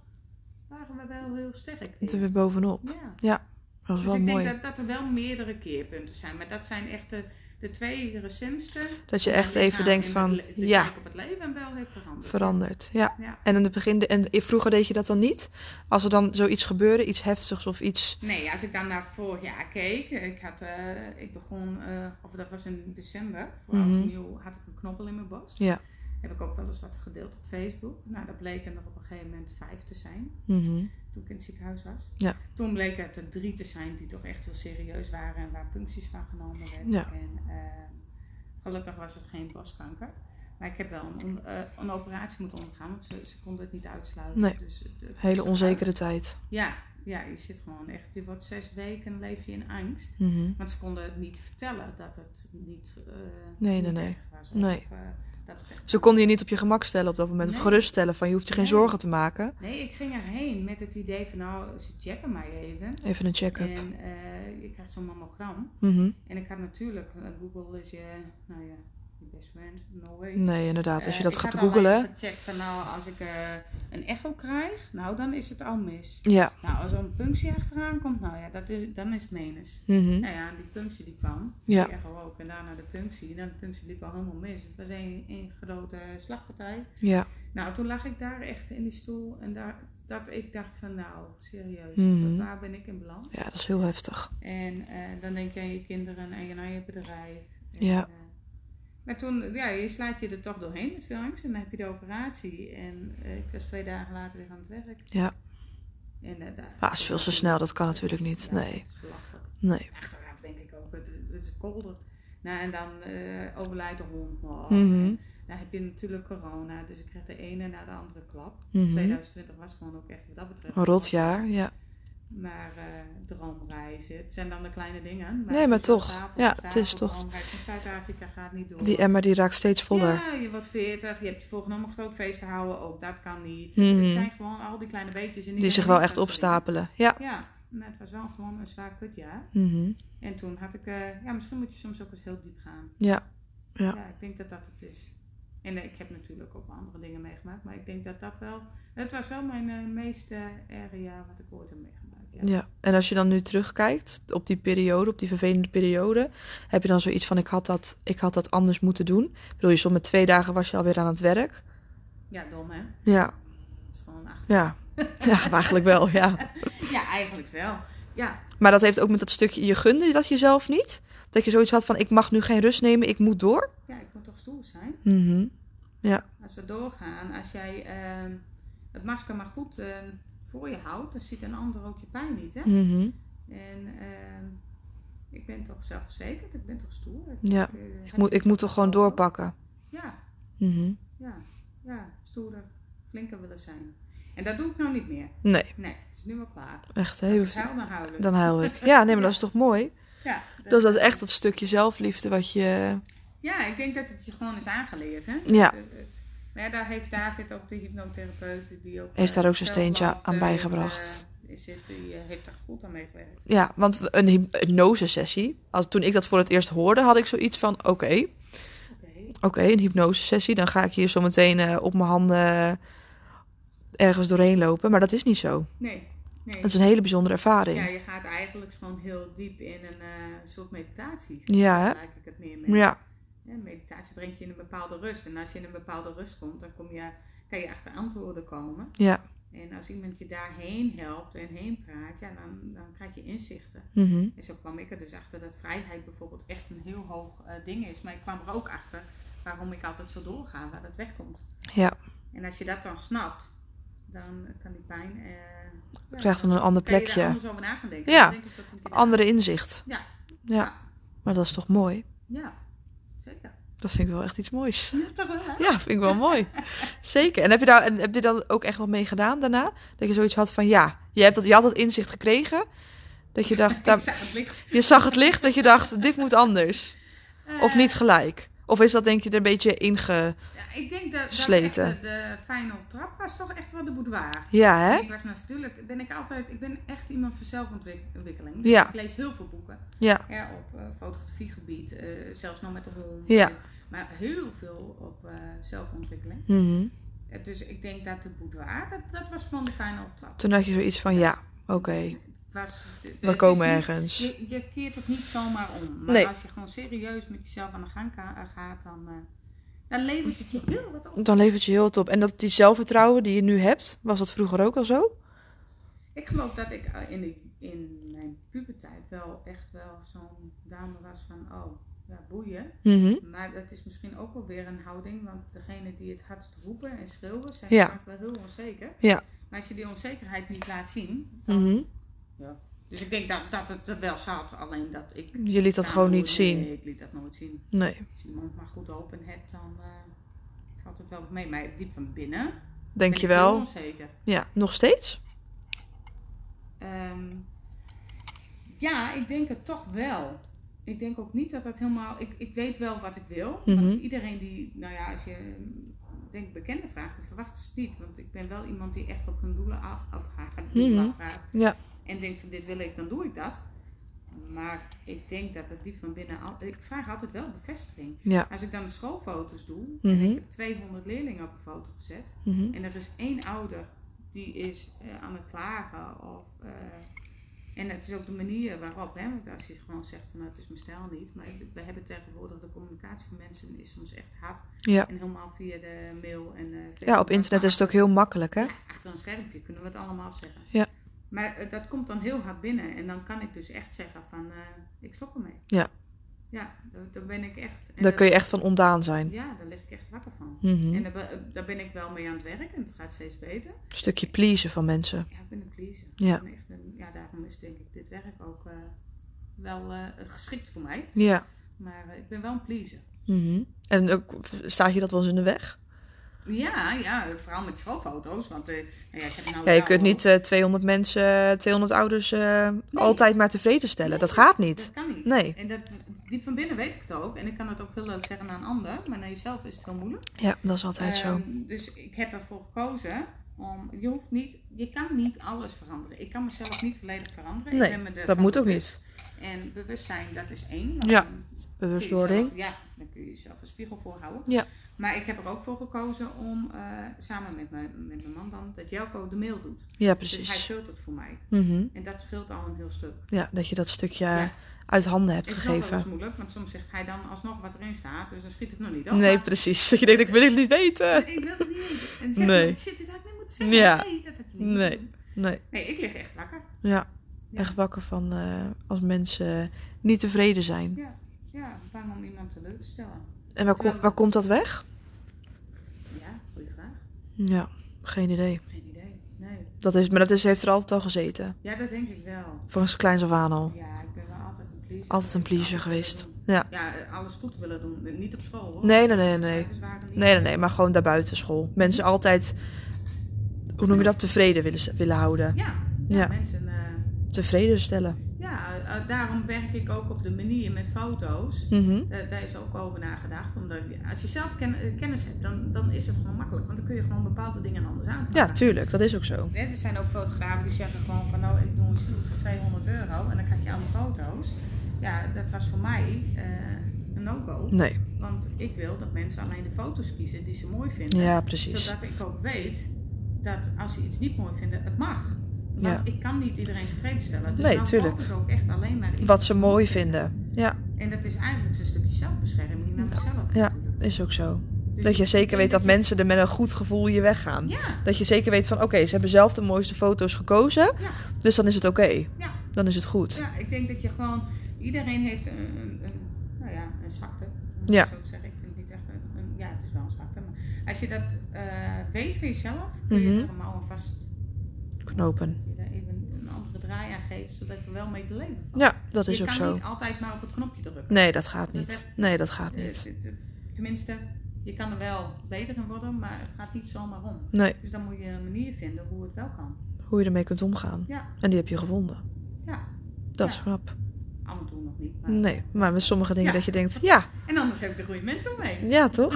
Speaker 2: waren we wel heel sterk.
Speaker 1: Het er
Speaker 2: weer.
Speaker 1: weer bovenop.
Speaker 2: Ja.
Speaker 1: Dat was
Speaker 2: Dus
Speaker 1: wel
Speaker 2: ik
Speaker 1: mooi.
Speaker 2: denk dat, dat er wel meerdere keerpunten zijn, maar dat zijn echt de, de twee recentste.
Speaker 1: Dat je
Speaker 2: Mijn
Speaker 1: echt even
Speaker 2: lichaam
Speaker 1: denkt
Speaker 2: en
Speaker 1: van,
Speaker 2: het le- de
Speaker 1: ja,
Speaker 2: kijk op het leven wel heeft veranderd.
Speaker 1: veranderd. Ja.
Speaker 2: Ja.
Speaker 1: En in het begin, en vroeger deed je dat dan niet? Als er dan zoiets gebeurde, iets heftigs of iets...
Speaker 2: Nee, als ik dan naar vorig jaar keek, ik, had, eh, ik begon, eh, of dat was in december, voor oud en
Speaker 1: Mhm.
Speaker 2: nieuw had ik een knobbel in mijn borst.
Speaker 1: Ja.
Speaker 2: Heb ik ook wel eens wat gedeeld op Facebook. Nou, dat bleken er op een gegeven moment vijf te zijn,
Speaker 1: Mhm.
Speaker 2: toen ik in het ziekenhuis was.
Speaker 1: Ja.
Speaker 2: Toen bleken het er drie te zijn die toch echt heel serieus waren en waar puncties van genomen werden.
Speaker 1: Ja.
Speaker 2: En eh, gelukkig was het geen borstkanker. Maar ik heb wel een, on- eh, een operatie moeten ondergaan, want ze, ze konden het niet uitsluiten.
Speaker 1: Nee.
Speaker 2: Dus het- het
Speaker 1: Hele
Speaker 2: was eruit.
Speaker 1: onzekere tijd.
Speaker 2: Ja, ja, je zit gewoon echt, je wordt zes weken leef je in angst.
Speaker 1: Mhm.
Speaker 2: Want ze konden het niet vertellen dat het niet. eh,
Speaker 1: Nee,
Speaker 2: niet
Speaker 1: nee, nee.
Speaker 2: erg Was,
Speaker 1: Nee.
Speaker 2: Of, eh, dat het echt-
Speaker 1: Ze konden je niet op je gemak stellen op dat moment. Of
Speaker 2: Nee.
Speaker 1: geruststellen van, je hoeft je geen
Speaker 2: Nee.
Speaker 1: zorgen te maken.
Speaker 2: Nee, ik ging erheen met het idee van nou, ze checken mij even.
Speaker 1: Even een check-up.
Speaker 2: En eh, ik had zo'n mammogram.
Speaker 1: Mhm.
Speaker 2: En ik had natuurlijk, eh, Google is je, nou ja, je best friend, no way.
Speaker 1: Nee, inderdaad. Als je
Speaker 2: Eh,
Speaker 1: dat gaat
Speaker 2: Ik had al
Speaker 1: googelen...
Speaker 2: even gecheckt van nou, als ik eh, een echo krijg, nou dan is het al mis.
Speaker 1: Ja.
Speaker 2: Nou, als er een punctie achteraan komt, nou ja, dat is, dan is het menens.
Speaker 1: Mhm.
Speaker 2: Nou ja, die punctie die kwam.
Speaker 1: Ja.
Speaker 2: Die echo ook. En daarna de punctie. En dan de punctie liep al helemaal mis. Het was een, een grote slagpartij.
Speaker 1: Ja.
Speaker 2: Nou, toen lag ik daar echt in die stoel. En daar, dat ik dacht van nou, serieus.
Speaker 1: Mhm.
Speaker 2: Waar ben ik in beland?
Speaker 1: ja, dat is heel heftig.
Speaker 2: En eh, dan denk je aan je kinderen en aan je bedrijf. En,
Speaker 1: Ja.
Speaker 2: eh, maar toen, ja, je slaat je er toch doorheen met veel angst. En dan heb je de operatie. En eh, ik was twee dagen later weer aan het werk.
Speaker 1: Ja.
Speaker 2: En, eh, daar-
Speaker 1: Maar het is veel te snel, dat kan natuurlijk niet.
Speaker 2: Ja,
Speaker 1: Nee.
Speaker 2: dat is belachelijk.
Speaker 1: Nee.
Speaker 2: Achteraf denk ik ook, het, het is kolder. Nou, en dan eh, overlijdt de hond nog.
Speaker 1: Mhm.
Speaker 2: Dan heb je natuurlijk corona, dus ik kreeg de ene na de andere klap.
Speaker 1: Mhm.
Speaker 2: 2020 was gewoon ook echt wat dat betreft.
Speaker 1: Een rot jaar, ja.
Speaker 2: Maar eh, droomreizen, het zijn dan de kleine dingen.
Speaker 1: Nee,
Speaker 2: het
Speaker 1: maar
Speaker 2: is wel
Speaker 1: toch.
Speaker 2: stapel op
Speaker 1: Ja, het
Speaker 2: stapel.
Speaker 1: is toch.
Speaker 2: Droomreis naar Zuid-Afrika gaat niet door.
Speaker 1: Die emmer die raakt steeds voller.
Speaker 2: Ja, je wordt 40, je hebt je voorgenomen een groot feest te houden, ook dat kan niet.
Speaker 1: Mhm.
Speaker 2: Het zijn gewoon al die kleine beetjes. en
Speaker 1: die zich
Speaker 2: ben
Speaker 1: wel
Speaker 2: ik
Speaker 1: echt
Speaker 2: dat soort dingen.
Speaker 1: opstapelen. Ja.
Speaker 2: Ja, maar het was wel gewoon een zwaar kutjaar.
Speaker 1: Mhm.
Speaker 2: En toen had ik, eh, ja, misschien moet je soms ook eens heel diep gaan.
Speaker 1: Ja. Ja.
Speaker 2: Ja, ik denk dat dat het is. En eh, ik heb natuurlijk ook wel andere dingen meegemaakt, maar ik denk dat dat wel, het was wel mijn eh, meest eh, erge jaar wat ik ooit heb meegemaakt. Ja.
Speaker 1: ja. En als je dan nu terugkijkt op die periode, op die vervelende periode, heb je dan zoiets van: ik had dat, ik had dat anders moeten doen? Ik bedoel, je stond met twee dagen was je alweer aan het werk.
Speaker 2: Ja, dom hè?
Speaker 1: Ja.
Speaker 2: Dat is gewoon achter.
Speaker 1: Ja. Ja, eigenlijk wel, ja.
Speaker 2: Ja, eigenlijk wel. Ja,
Speaker 1: Maar dat heeft ook met dat stukje, je gunde je dat jezelf niet? Dat je zoiets had van, ik mag nu geen rust nemen, ik moet door?
Speaker 2: ja, ik moet toch stoer zijn.
Speaker 1: Mhm.
Speaker 2: Als we doorgaan, als jij ehm, het masker maar goed ehm, voor je houdt, dan ziet een ander ook je pijn niet. Hè?
Speaker 1: Mhm.
Speaker 2: En ehm, ik ben toch zelfverzekerd, ik ben toch stoer. Ik,
Speaker 1: Ja.
Speaker 2: eh,
Speaker 1: Ik moet, ik moet toch gewoon doorpakken?
Speaker 2: Ja,
Speaker 1: Mhm.
Speaker 2: ja, ja, stoerder, flinker willen zijn. En dat doe ik nou niet meer.
Speaker 1: Nee,
Speaker 2: Nee, het is nu wel klaar.
Speaker 1: echt
Speaker 2: Als ik
Speaker 1: heel...
Speaker 2: huil, dan huil ik.
Speaker 1: Dan huil ik. Ja, nee, maar dat is toch mooi?
Speaker 2: Ja,
Speaker 1: Dat is dat echt dat stukje zelfliefde wat je...
Speaker 2: ja, ik denk dat het je gewoon is aangeleerd, hè?
Speaker 1: Ja.
Speaker 2: Het- het- maar ja, daar heeft David ook de hypnotherapeut die ook...
Speaker 1: Heeft
Speaker 2: eh,
Speaker 1: daar ook zijn steentje
Speaker 2: zelf
Speaker 1: aan
Speaker 2: eh,
Speaker 1: bijgebracht.
Speaker 2: eh, zit, die eh, heeft daar goed aan meegewerkt.
Speaker 1: Ja, want een hy- hypnosesessie, als, toen ik dat voor het eerst hoorde, had ik zoiets van: oké,
Speaker 2: Oké.
Speaker 1: oké, een hypnosesessie, dan ga ik hier zo meteen eh, op mijn handen ergens doorheen lopen. Maar dat is niet zo.
Speaker 2: Nee, nee.
Speaker 1: Het is een hele bijzondere ervaring.
Speaker 2: Ja,
Speaker 1: Ja,
Speaker 2: je gaat eigenlijk gewoon heel diep in een eh, soort meditatie.
Speaker 1: Ja, hè?
Speaker 2: Daar maak ik het meer mee.
Speaker 1: ja.
Speaker 2: Ja, meditatie brengt je in een bepaalde rust. En als je in een bepaalde rust komt, dan kom je, kan je achter antwoorden komen.
Speaker 1: ja.
Speaker 2: En als iemand je daarheen helpt en heen praat, ja, dan, dan krijg je inzichten.
Speaker 1: Mhm.
Speaker 2: En zo kwam ik er dus achter dat vrijheid bijvoorbeeld echt een heel hoog eh, ding is. Maar ik kwam er ook achter waarom ik altijd zo doorga, waar dat wegkomt.
Speaker 1: ja.
Speaker 2: En als je dat dan snapt, dan kan die pijn... eh, ja,
Speaker 1: krijgt dan een ander
Speaker 2: kan je daar
Speaker 1: plekje.
Speaker 2: anders over na gaan denken.
Speaker 1: Ja.
Speaker 2: Dan denk ik dat een keer-
Speaker 1: Andere inzicht.
Speaker 2: Ja.
Speaker 1: Ja, maar dat is toch mooi?
Speaker 2: Ja, zeker.
Speaker 1: Dat vind ik wel echt iets moois.
Speaker 2: Ja, toch wel, hè?
Speaker 1: Ja, vind ik wel mooi. Zeker. En heb je, daar, en heb je dan ook echt wat mee gedaan daarna? Dat je zoiets had van, ja, je, hebt dat, je had dat inzicht gekregen. Dat je dacht, daar-
Speaker 2: Ik zag het blik.
Speaker 1: je zag het licht dat je dacht, dit moet anders. Of niet gelijk? Of is dat denk je er een beetje inge...
Speaker 2: Ja, Eh, ik denk dat, dat echt
Speaker 1: Sleten.
Speaker 2: de, de final trap was toch echt wel de boudoir.
Speaker 1: Ja, hè?
Speaker 2: Ik was natuurlijk, ben ik altijd, ik ben echt iemand voor zelfontwikkeling.
Speaker 1: Ja.
Speaker 2: Ik lees heel veel boeken.
Speaker 1: Ja.
Speaker 2: Ja, op eh, fotografiegebied, eh, zelfs nog met de hond.
Speaker 1: Ja.
Speaker 2: Eh, Maar heel veel op eh, zelfontwikkeling.
Speaker 1: Mhm.
Speaker 2: Eh, dus ik denk dat de boudoir, dat, dat was gewoon de final trap.
Speaker 1: Toen had je zoiets van, ja, oké,
Speaker 2: Het was, de- de- het
Speaker 1: we
Speaker 2: is
Speaker 1: komen
Speaker 2: niet-
Speaker 1: ergens.
Speaker 2: Je, je keert het niet zomaar om. Maar
Speaker 1: Nee.
Speaker 2: als je gewoon serieus met jezelf aan de gang ka- gaat, dan, eh, dan levert het je heel wat op.
Speaker 1: Dan levert je heel wat op. En dat die zelfvertrouwen die je nu hebt, was dat vroeger ook al zo?
Speaker 2: Ik geloof dat ik eh, in, de, in mijn puberteit wel echt wel zo'n dame was van, oh, ja, boeien.
Speaker 1: Mhm.
Speaker 2: Maar dat is misschien ook wel weer een houding, want degene die het hardst roepen en schreeuwen, zijn
Speaker 1: Ja.
Speaker 2: vaak wel heel onzeker.
Speaker 1: Ja.
Speaker 2: Maar als je die onzekerheid niet laat zien, dan...
Speaker 1: Mhm.
Speaker 2: Dus ik denk dat, dat het er wel zat, alleen dat ik...
Speaker 1: Je liet dat gewoon niet zien.
Speaker 2: Nee, ik liet dat nooit zien.
Speaker 1: Nee.
Speaker 2: Als je iemand maar goed open hebt, dan eh, valt het wel mee. Maar diep van binnen
Speaker 1: Denk
Speaker 2: ben
Speaker 1: je
Speaker 2: ik heel
Speaker 1: wel?
Speaker 2: onzeker.
Speaker 1: Ja. Nog steeds?
Speaker 2: Ehm, ja, ik denk het toch wel. Ik denk ook niet dat dat helemaal. Ik, ik weet wel wat ik wil.
Speaker 1: Mhm.
Speaker 2: Want iedereen die, nou ja, als je mm, denk bekende vraagt, dan verwacht ze het niet. Want ik ben wel iemand die echt op hun doelen af, afgaat, doelen
Speaker 1: Mhm.
Speaker 2: afgaat.
Speaker 1: Ja.
Speaker 2: En denkt van dit wil ik, dan doe ik dat. Maar ik denk dat het diep van binnen. Al, ik vraag altijd wel bevestiging.
Speaker 1: Ja.
Speaker 2: Als ik dan de schoolfoto's doe,
Speaker 1: Mhm.
Speaker 2: heb ik 200 leerlingen op een foto gezet.
Speaker 1: Mhm.
Speaker 2: En er is één ouder die is eh, aan het klagen. Of, eh, en het is ook de manier waarop, hè, want als je gewoon zegt van nou, het is mijn stijl niet. Maar ik- we hebben tegenwoordig de communicatie van mensen is soms echt hard.
Speaker 1: Ja.
Speaker 2: En helemaal via de mail en eh, Facebook.
Speaker 1: Ja, op internet is het ook heel makkelijk, hè?
Speaker 2: Ja, achter een schermpje kunnen we het allemaal zeggen.
Speaker 1: Ja.
Speaker 2: Maar eh, dat komt dan heel hard binnen. En dan kan ik dus echt zeggen van eh, ik stop ermee.
Speaker 1: Ja.
Speaker 2: Ja, dan- dan ben ik echt. en
Speaker 1: Daar
Speaker 2: dat-
Speaker 1: kun je echt van ontdaan zijn.
Speaker 2: Ja, daar lig ik echt wakker van.
Speaker 1: Mhm.
Speaker 2: En daar, be- daar ben ik wel mee aan het werk en het gaat steeds beter.
Speaker 1: Stukje pleasen van mensen.
Speaker 2: Ja, ik ben een pleaser.
Speaker 1: Ja.
Speaker 2: Ik ben echt een, ja, daarom is denk ik dit werk ook eh, wel eh, geschikt voor mij.
Speaker 1: Ja.
Speaker 2: Maar eh, ik ben wel een pleaser.
Speaker 1: Mhm. En ook, staat je dat wel eens in de weg?
Speaker 2: Ja, ja, vooral met schoolfoto's. Want eh, nou ja, ik heb nou
Speaker 1: Ja, je
Speaker 2: wel-
Speaker 1: kunt niet eh, 200 mensen, 200 ouders eh, altijd maar tevreden stellen.
Speaker 2: Nee.
Speaker 1: Dat gaat niet.
Speaker 2: Dat kan niet.
Speaker 1: Nee.
Speaker 2: En dat, die van binnen weet ik het ook. En ik kan het ook heel leuk zeggen aan een ander. Maar naar jezelf is het heel moeilijk.
Speaker 1: Ja, dat is altijd zo.
Speaker 2: Ehm, Dus ik heb ervoor gekozen om. Je hoeft niet. Je kan niet alles veranderen. Ik kan mezelf niet volledig veranderen.
Speaker 1: Nee,
Speaker 2: ik ben me
Speaker 1: dat
Speaker 2: ervan
Speaker 1: moet ook
Speaker 2: bewust. En bewustzijn, dat is één. want
Speaker 1: Ja,
Speaker 2: dan kun je
Speaker 1: Bewustwording.
Speaker 2: jezelf- Ja, dan kun je jezelf een spiegel voorhouden.
Speaker 1: Ja.
Speaker 2: Maar ik heb er ook voor gekozen om eh, samen met mijn, met mijn man dan dat Jelko de mail doet.
Speaker 1: Ja,
Speaker 2: Dus hij
Speaker 1: precies.
Speaker 2: filtert voor mij.
Speaker 1: Mhm.
Speaker 2: En dat scheelt al een heel stuk.
Speaker 1: Ja, dat je dat stukje
Speaker 2: Ja.
Speaker 1: uit handen hebt
Speaker 2: Het is nog wel
Speaker 1: gegeven.
Speaker 2: eens moeilijk, want soms zegt hij dan alsnog wat erin staat, dus dan schiet het nog niet op.
Speaker 1: Nee,
Speaker 2: Maar-
Speaker 1: precies. Dat je denkt, ik wil het niet weten.
Speaker 2: Ik wil het niet weten. En dan zeg
Speaker 1: Nee.
Speaker 2: nee. shit, dit had ik niet moeten zeggen.
Speaker 1: Ja.
Speaker 2: Nee, dat had je niet
Speaker 1: Nee.
Speaker 2: moeten doen.
Speaker 1: Nee,
Speaker 2: Nee, ik lig echt wakker.
Speaker 1: ja.
Speaker 2: Ja.
Speaker 1: Echt wakker van eh, als mensen niet tevreden zijn.
Speaker 2: Ja, ja bang om iemand teleur te stellen.
Speaker 1: En waar, kom- waar komt dat weg?
Speaker 2: Ja, goede vraag.
Speaker 1: Ja, geen idee.
Speaker 2: Geen idee. Nee.
Speaker 1: Dat is, maar dat is, heeft er altijd al gezeten.
Speaker 2: Ja, dat denk ik wel.
Speaker 1: Volgens kleins af aan al.
Speaker 2: Ja, ik ben wel altijd een pleaser.
Speaker 1: Altijd een pleaser geweest. Ja.
Speaker 2: Ja, eh, alles goed willen doen. Niet op school hoor.
Speaker 1: Nee, nee, nee, nee.
Speaker 2: Cijfers waren niet-
Speaker 1: Nee, nee, nee, maar gewoon daarbuiten school. Mensen altijd, hoe noem je dat, tevreden willen, willen houden.
Speaker 2: Ja, ja,
Speaker 1: Ja.
Speaker 2: mensen. eh,
Speaker 1: Tevreden stellen.
Speaker 2: ja, eh, daarom werk ik ook op de manier met foto's.
Speaker 1: Mhm.
Speaker 2: Eh, daar is ook over nagedacht. Omdat je- als je zelf ken- eh, kennis hebt, dan, dan is het gewoon makkelijk. Want dan kun je gewoon bepaalde dingen anders aanpakken.
Speaker 1: Ja, tuurlijk, dat is ook zo.
Speaker 2: Hè, Er zijn ook fotografen die zeggen gewoon van nou, ik doe een shoot voor 200 euro en dan krijg je allemaal foto's. Ja, dat was voor mij eh, een no-go.
Speaker 1: Nee,
Speaker 2: Want ik wil dat mensen alleen de foto's kiezen die ze mooi vinden.
Speaker 1: ja, precies.
Speaker 2: Zodat ik ook weet dat als ze iets niet mooi vinden, het mag. Want
Speaker 1: Ja.
Speaker 2: ik kan niet iedereen tevreden stellen. Dus
Speaker 1: Nee,
Speaker 2: dan
Speaker 1: tuurlijk.
Speaker 2: focus ook echt alleen maar in
Speaker 1: Wat ze mooi vinden. Ja,
Speaker 2: En dat is eigenlijk zo'n stukje zelfbescherming naar mezelf
Speaker 1: Ja.
Speaker 2: natuurlijk.
Speaker 1: is ook zo.
Speaker 2: Dus
Speaker 1: Dat je
Speaker 2: ik
Speaker 1: zeker
Speaker 2: denk
Speaker 1: weet dat
Speaker 2: je-
Speaker 1: mensen er met een goed gevoel je weggaan.
Speaker 2: Ja,
Speaker 1: Dat je zeker weet van, oké, ze hebben zelf de mooiste foto's gekozen.
Speaker 2: Ja.
Speaker 1: Dus dan is het oké.
Speaker 2: Ja.
Speaker 1: Dan is het goed.
Speaker 2: ja, ik denk dat je gewoon... Iedereen heeft een, een, een, nou ja, een zwakte. om het
Speaker 1: Ja.
Speaker 2: Zo te zeggen. Ik vind het niet echt een, een- Ja, het is wel een zwakte. Maar als je dat eh, weet van jezelf... kun je
Speaker 1: Mhm.
Speaker 2: er een mouw aan vast...
Speaker 1: Knopen.
Speaker 2: je daar even een andere draai aan geeft... zodat er wel mee te leven valt.
Speaker 1: Ja, dat is
Speaker 2: je
Speaker 1: ook
Speaker 2: kan
Speaker 1: zo.
Speaker 2: niet altijd maar op het knopje drukken.
Speaker 1: Nee, dat gaat
Speaker 2: Dat
Speaker 1: niet.
Speaker 2: heb-
Speaker 1: Nee, dat gaat
Speaker 2: Eh,
Speaker 1: niet.
Speaker 2: t- t- Tenminste, je kan er wel beter in worden... maar het gaat niet zomaar om.
Speaker 1: Nee,
Speaker 2: Dus dan moet je een manier vinden hoe het wel kan.
Speaker 1: hoe je ermee kunt omgaan.
Speaker 2: Ja.
Speaker 1: En die heb je gevonden.
Speaker 2: Ja,
Speaker 1: Dat is
Speaker 2: Ja.
Speaker 1: knap.
Speaker 2: af en toe nog niet. Maar...
Speaker 1: Nee, maar met sommige dingen
Speaker 2: Ja.
Speaker 1: dat je denkt, ja,
Speaker 2: En anders heb ik de goede mensen om me heen.
Speaker 1: ja toch?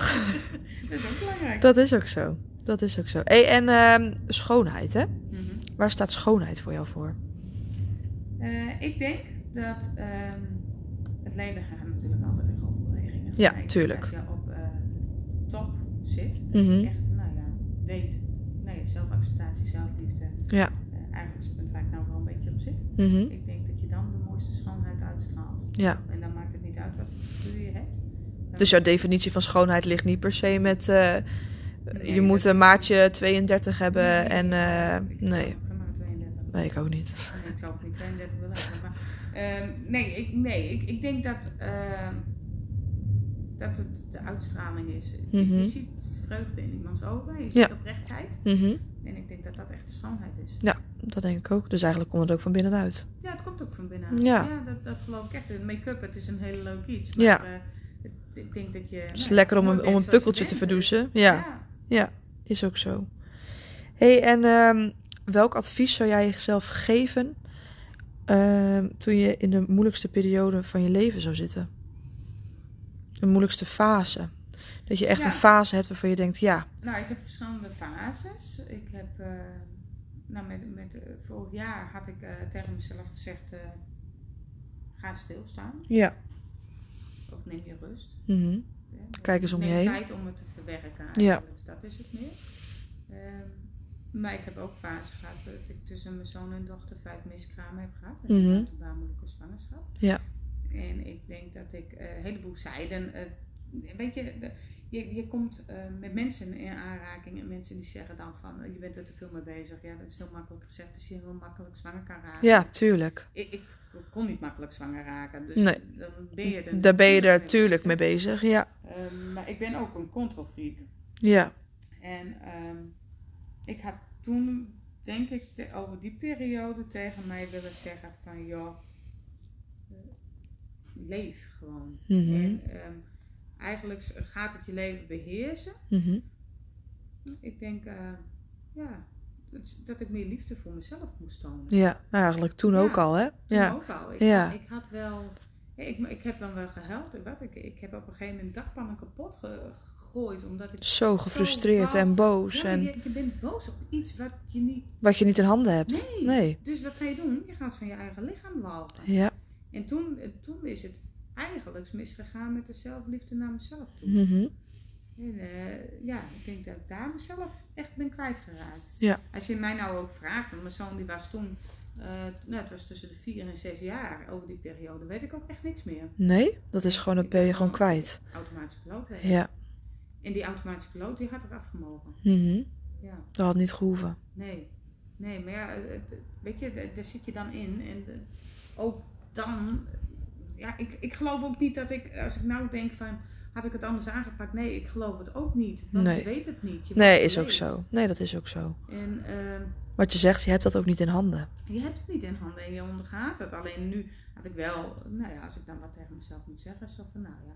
Speaker 2: Dat is ook belangrijk.
Speaker 1: Dat is ook zo. Dat is ook zo. Hey, en ehm, schoonheid, hè?
Speaker 2: Mhm.
Speaker 1: Waar staat schoonheid voor jou voor?
Speaker 2: Eh, ik denk dat ehm, het leven gaat natuurlijk altijd in golfbewegingen.
Speaker 1: Ja,
Speaker 2: Ik denk
Speaker 1: tuurlijk.
Speaker 2: Als je op eh, top zit, dat
Speaker 1: Mhm.
Speaker 2: je echt, nou ja, weet, nee, zelfacceptatie, zelfliefde.
Speaker 1: Ja.
Speaker 2: eh, eigenlijk is het punt waar ik nou wel een beetje op zit.
Speaker 1: Mhm.
Speaker 2: Ik denk dat je dan de mooiste schoonheid uitstraalt.
Speaker 1: Ja.
Speaker 2: En dan maakt het niet uit wat voor figuur je hebt. Dan
Speaker 1: Dus jouw definitie van schoonheid ligt niet per se met... eh,
Speaker 2: Nee,
Speaker 1: je moet
Speaker 2: dat
Speaker 1: een
Speaker 2: is-
Speaker 1: maatje 32 hebben en...
Speaker 2: Ik
Speaker 1: eh,
Speaker 2: heb
Speaker 1: nee.
Speaker 2: ook maar 32.
Speaker 1: Nee, ik ook niet.
Speaker 2: Nee, ik zou ook niet 32 willen hebben. Maar, ehm, nee, ik, nee ik, ik denk dat, ehm, dat het de uitstraling is.
Speaker 1: Mhm.
Speaker 2: Je ziet vreugde in iemands ogen, je ziet
Speaker 1: Ja.
Speaker 2: oprechtheid.
Speaker 1: Mhm.
Speaker 2: En ik denk dat dat echt de schoonheid is.
Speaker 1: Dat denk ik ook. Dus eigenlijk komt het ook van binnenuit.
Speaker 2: Ja, het komt ook van binnen.
Speaker 1: Ja.
Speaker 2: dat, dat geloof ik echt. De Make-up, het is een heel leuk iets. Maar
Speaker 1: Ja.
Speaker 2: eh, het- ik denk dat je...
Speaker 1: Het is lekker om een, om een pukkeltje te verdoezen. Ja, is ook zo. hey, en ehm, welk advies zou jij jezelf geven... ehm, toen je in de moeilijkste periode van je leven zou zitten? De moeilijkste fase. Dat je echt
Speaker 2: Ja.
Speaker 1: een fase hebt waarvan je denkt... Ja,
Speaker 2: Nou, ik heb verschillende fases. Ik heb, eh, nou, met, met, eh, vorig jaar had ik eh, tegen mezelf gezegd: eh, ga stilstaan
Speaker 1: ja.
Speaker 2: of neem je rust.
Speaker 1: Mhm.
Speaker 2: Hè.
Speaker 1: Kijk eens om je
Speaker 2: neem
Speaker 1: heen.
Speaker 2: tijd om het te verwerken. Eigenlijk. Dus dat is het meer. Ehm, maar ik heb ook fases gehad dat ik tussen mijn zoon en dochter vijf miskramen heb gehad. En
Speaker 1: Mhm.
Speaker 2: een baarmoedelijke zwangerschap.
Speaker 1: Ja.
Speaker 2: En ik denk dat ik eh, een heleboel zijden. eh, weet je, de- je, je komt eh, met mensen in aanraking en mensen die zeggen dan van eh, je bent er te veel mee bezig. Ja, dat is heel makkelijk gezegd, dus je heel makkelijk zwanger kan raken.
Speaker 1: ja, tuurlijk.
Speaker 2: Ik, ik kon niet makkelijk zwanger raken, dus
Speaker 1: Nee.
Speaker 2: dan ben je er
Speaker 1: Daar ben je er
Speaker 2: natuurlijk
Speaker 1: natuurlijk mee bezig. Ja,
Speaker 2: Ehm, maar ik ben ook een controlfreak.
Speaker 1: ja.
Speaker 2: En ehm, ik had toen, denk ik, te- over die periode tegen mij willen zeggen van... joh, eh, leef gewoon.
Speaker 1: Mhm.
Speaker 2: En, ehm, eigenlijk gaat het je leven beheersen.
Speaker 1: Mhm.
Speaker 2: Ik denk, eh, ja, dat- dat ik meer liefde voor mezelf moest tonen.
Speaker 1: Ja, nou, eigenlijk toen ook
Speaker 2: Ja.
Speaker 1: al, hè?
Speaker 2: Toen
Speaker 1: Ja.
Speaker 2: ook al. Ik,
Speaker 1: Ja.
Speaker 2: ik had wel... ja, Ik, ik heb dan wel gehuild. en Wat? Ik, ik heb op een gegeven moment dakpannen kapot ge- gegooid. Omdat ik...
Speaker 1: Zo gefrustreerd
Speaker 2: Zo
Speaker 1: en boos
Speaker 2: Ja,
Speaker 1: en
Speaker 2: je, je bent boos op iets wat je niet...
Speaker 1: wat je niet in handen hebt.
Speaker 2: Nee. Dus wat ga je doen? Je gaat van je eigen lichaam walgen.
Speaker 1: Ja.
Speaker 2: En toen, en toen is het eigenlijk misgegaan met de zelfliefde naar mezelf toe.
Speaker 1: Mhm.
Speaker 2: En eh, ja, ik denk dat ik daar mezelf echt ben kwijtgeraakt.
Speaker 1: Ja.
Speaker 2: Als je mij nou ook vraagt, want mijn zoon die was toen, eh, t- nou, het was tussen de vier en zes jaar, over die periode weet ik ook echt niks meer.
Speaker 1: Nee, dat is gewoon, dat ben je gewoon kwijt.
Speaker 2: Automatische piloot. hè.
Speaker 1: Ja.
Speaker 2: En die automatische piloot die had er afgemogen.
Speaker 1: Mhm.
Speaker 2: Ja,
Speaker 1: Dat had niet gehoeven.
Speaker 2: nee. Nee, maar ja, het- weet je, daar- daar zit je dan in. En de- ook dan, ja, ik, ik geloof ook niet dat ik, als ik nou denk van, had ik het anders aangepakt? Nee, ik geloof het ook niet. Want
Speaker 1: Nee.
Speaker 2: je weet het niet. Je
Speaker 1: Nee,
Speaker 2: wordt
Speaker 1: is ook
Speaker 2: geleefd.
Speaker 1: zo. Nee, dat is ook zo.
Speaker 2: En ehm,
Speaker 1: Wat je zegt, je hebt dat ook niet in handen.
Speaker 2: je hebt het niet in handen en je ondergaat het. Alleen nu had ik wel, nou ja, als ik dan wat tegen mezelf moet zeggen, zo van, nou ja,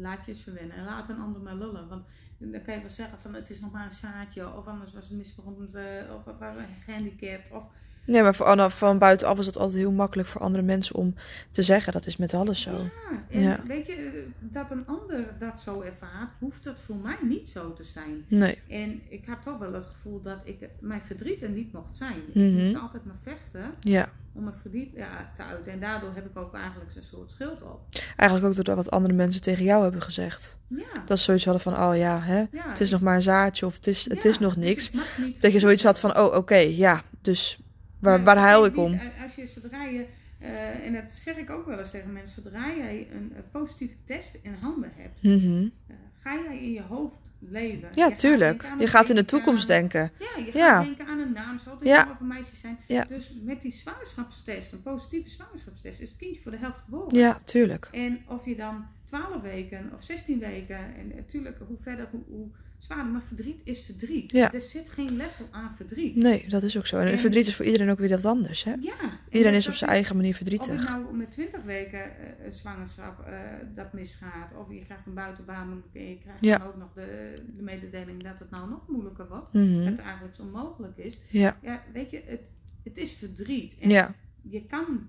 Speaker 2: laat je eens verwennen en laat een ander maar lullen. Want dan kan je wel zeggen van, het is nog maar een zaadje, of anders was het misvormd, eh, of was een gehandicapt, of
Speaker 1: Nee, maar voor, Anna- van buitenaf is dat altijd heel makkelijk voor andere mensen om te zeggen. Dat is met alles zo.
Speaker 2: Ja, en
Speaker 1: Ja.
Speaker 2: weet je, eh, dat een ander dat zo ervaart, hoeft dat voor mij niet zo te zijn.
Speaker 1: Nee.
Speaker 2: En ik had toch wel het gevoel dat ik mijn verdriet er niet mocht zijn.
Speaker 1: Mhm.
Speaker 2: Ik moest altijd maar vechten
Speaker 1: Ja.
Speaker 2: om mijn verdriet ja, te uiten. En daardoor heb ik ook eigenlijk een soort schild op.
Speaker 1: Eigenlijk ook doordat wat andere mensen tegen jou hebben gezegd.
Speaker 2: Ja.
Speaker 1: Dat ze zoiets hadden van, oh ja, hè,
Speaker 2: ja.
Speaker 1: het is nog maar een zaadje of het is, het
Speaker 2: Ah. Ja,
Speaker 1: is nog
Speaker 2: dus
Speaker 1: niks.
Speaker 2: ik mag niet-
Speaker 1: Dat je zoiets had van, oh oké, ja, dus waar,
Speaker 2: Nee,
Speaker 1: waar huil
Speaker 2: nee,
Speaker 1: ik om?
Speaker 2: niet. Als je zodra je, eh, en dat zeg ik ook wel eens tegen mensen, zodra jij een eh, positieve test in handen hebt,
Speaker 1: Mhm.
Speaker 2: eh, ga jij in je hoofd leven. Je
Speaker 1: Ja,
Speaker 2: gaat
Speaker 1: tuurlijk.
Speaker 2: denken aan
Speaker 1: Je
Speaker 2: een
Speaker 1: gaat in de
Speaker 2: denken
Speaker 1: toekomst
Speaker 2: aan-
Speaker 1: denken.
Speaker 2: Ja, je
Speaker 1: Ja.
Speaker 2: gaat denken aan een naam, zal het
Speaker 1: Ja.
Speaker 2: een meisje zijn.
Speaker 1: Ja.
Speaker 2: Dus met die zwangerschapstest, een positieve zwangerschapstest, is het kindje voor de helft geboren.
Speaker 1: Ja, tuurlijk.
Speaker 2: En of je dan 12 weken of 16 weken, en natuurlijk hoe verder, hoe, hoe zwaarder, maar verdriet is verdriet.
Speaker 1: Ja.
Speaker 2: Er zit geen level aan verdriet.
Speaker 1: Nee, dat is ook zo. En,
Speaker 2: En-
Speaker 1: verdriet is voor iedereen ook weer wat anders, hè?
Speaker 2: Ja. en
Speaker 1: Iedereen
Speaker 2: dat-
Speaker 1: is op
Speaker 2: dat
Speaker 1: zijn eigen manier verdrietig.
Speaker 2: Of het nou met 20 weken eh, eh, zwangerschap eh, dat misgaat, of je krijgt een buitenbaan en je krijgt
Speaker 1: Ja.
Speaker 2: dan ook nog de, de mededeling dat het nou nog moeilijker wordt,
Speaker 1: Mhm.
Speaker 2: dat het eigenlijk zo onmogelijk is.
Speaker 1: Ja,
Speaker 2: Ja, weet je, het, het is verdriet. En
Speaker 1: ja,
Speaker 2: je kan,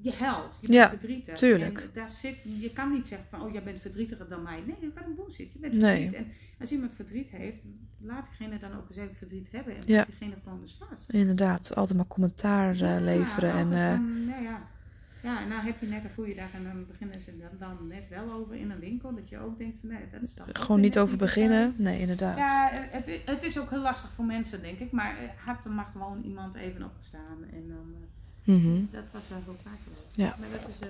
Speaker 2: je huilt, je
Speaker 1: Ja,
Speaker 2: bent verdrietig.
Speaker 1: tuurlijk.
Speaker 2: En daar zit, je kan niet zeggen van, oh jij bent verdrietiger dan mij. Nee, dat kan een bullshit. Je bent
Speaker 1: Nee.
Speaker 2: verdriet. En als iemand verdriet heeft, laat diegene dan ook eens even verdriet hebben. En
Speaker 1: Ja.
Speaker 2: laat diegene gewoon eens vast.
Speaker 1: inderdaad. Altijd maar commentaar eh,
Speaker 2: Ja,
Speaker 1: leveren. En,
Speaker 2: altijd
Speaker 1: eh,
Speaker 2: van, nou ja. ja, en nou heb je net een goede dag en dan beginnen ze dan, dan net wel over in een winkel. Dat je ook denkt van nee, dat is toch ook
Speaker 1: gewoon niet
Speaker 2: net
Speaker 1: over
Speaker 2: de
Speaker 1: beginnen.
Speaker 2: tijd.
Speaker 1: Nee, inderdaad.
Speaker 2: Ja, het, i- het is ook heel lastig voor mensen, denk ik. Maar eh, had er mag gewoon iemand even opgestaan. En dan, eh,
Speaker 1: Mhm,
Speaker 2: dat was wel heel vaak geweest.
Speaker 1: Ja.
Speaker 2: Maar dat is, eh,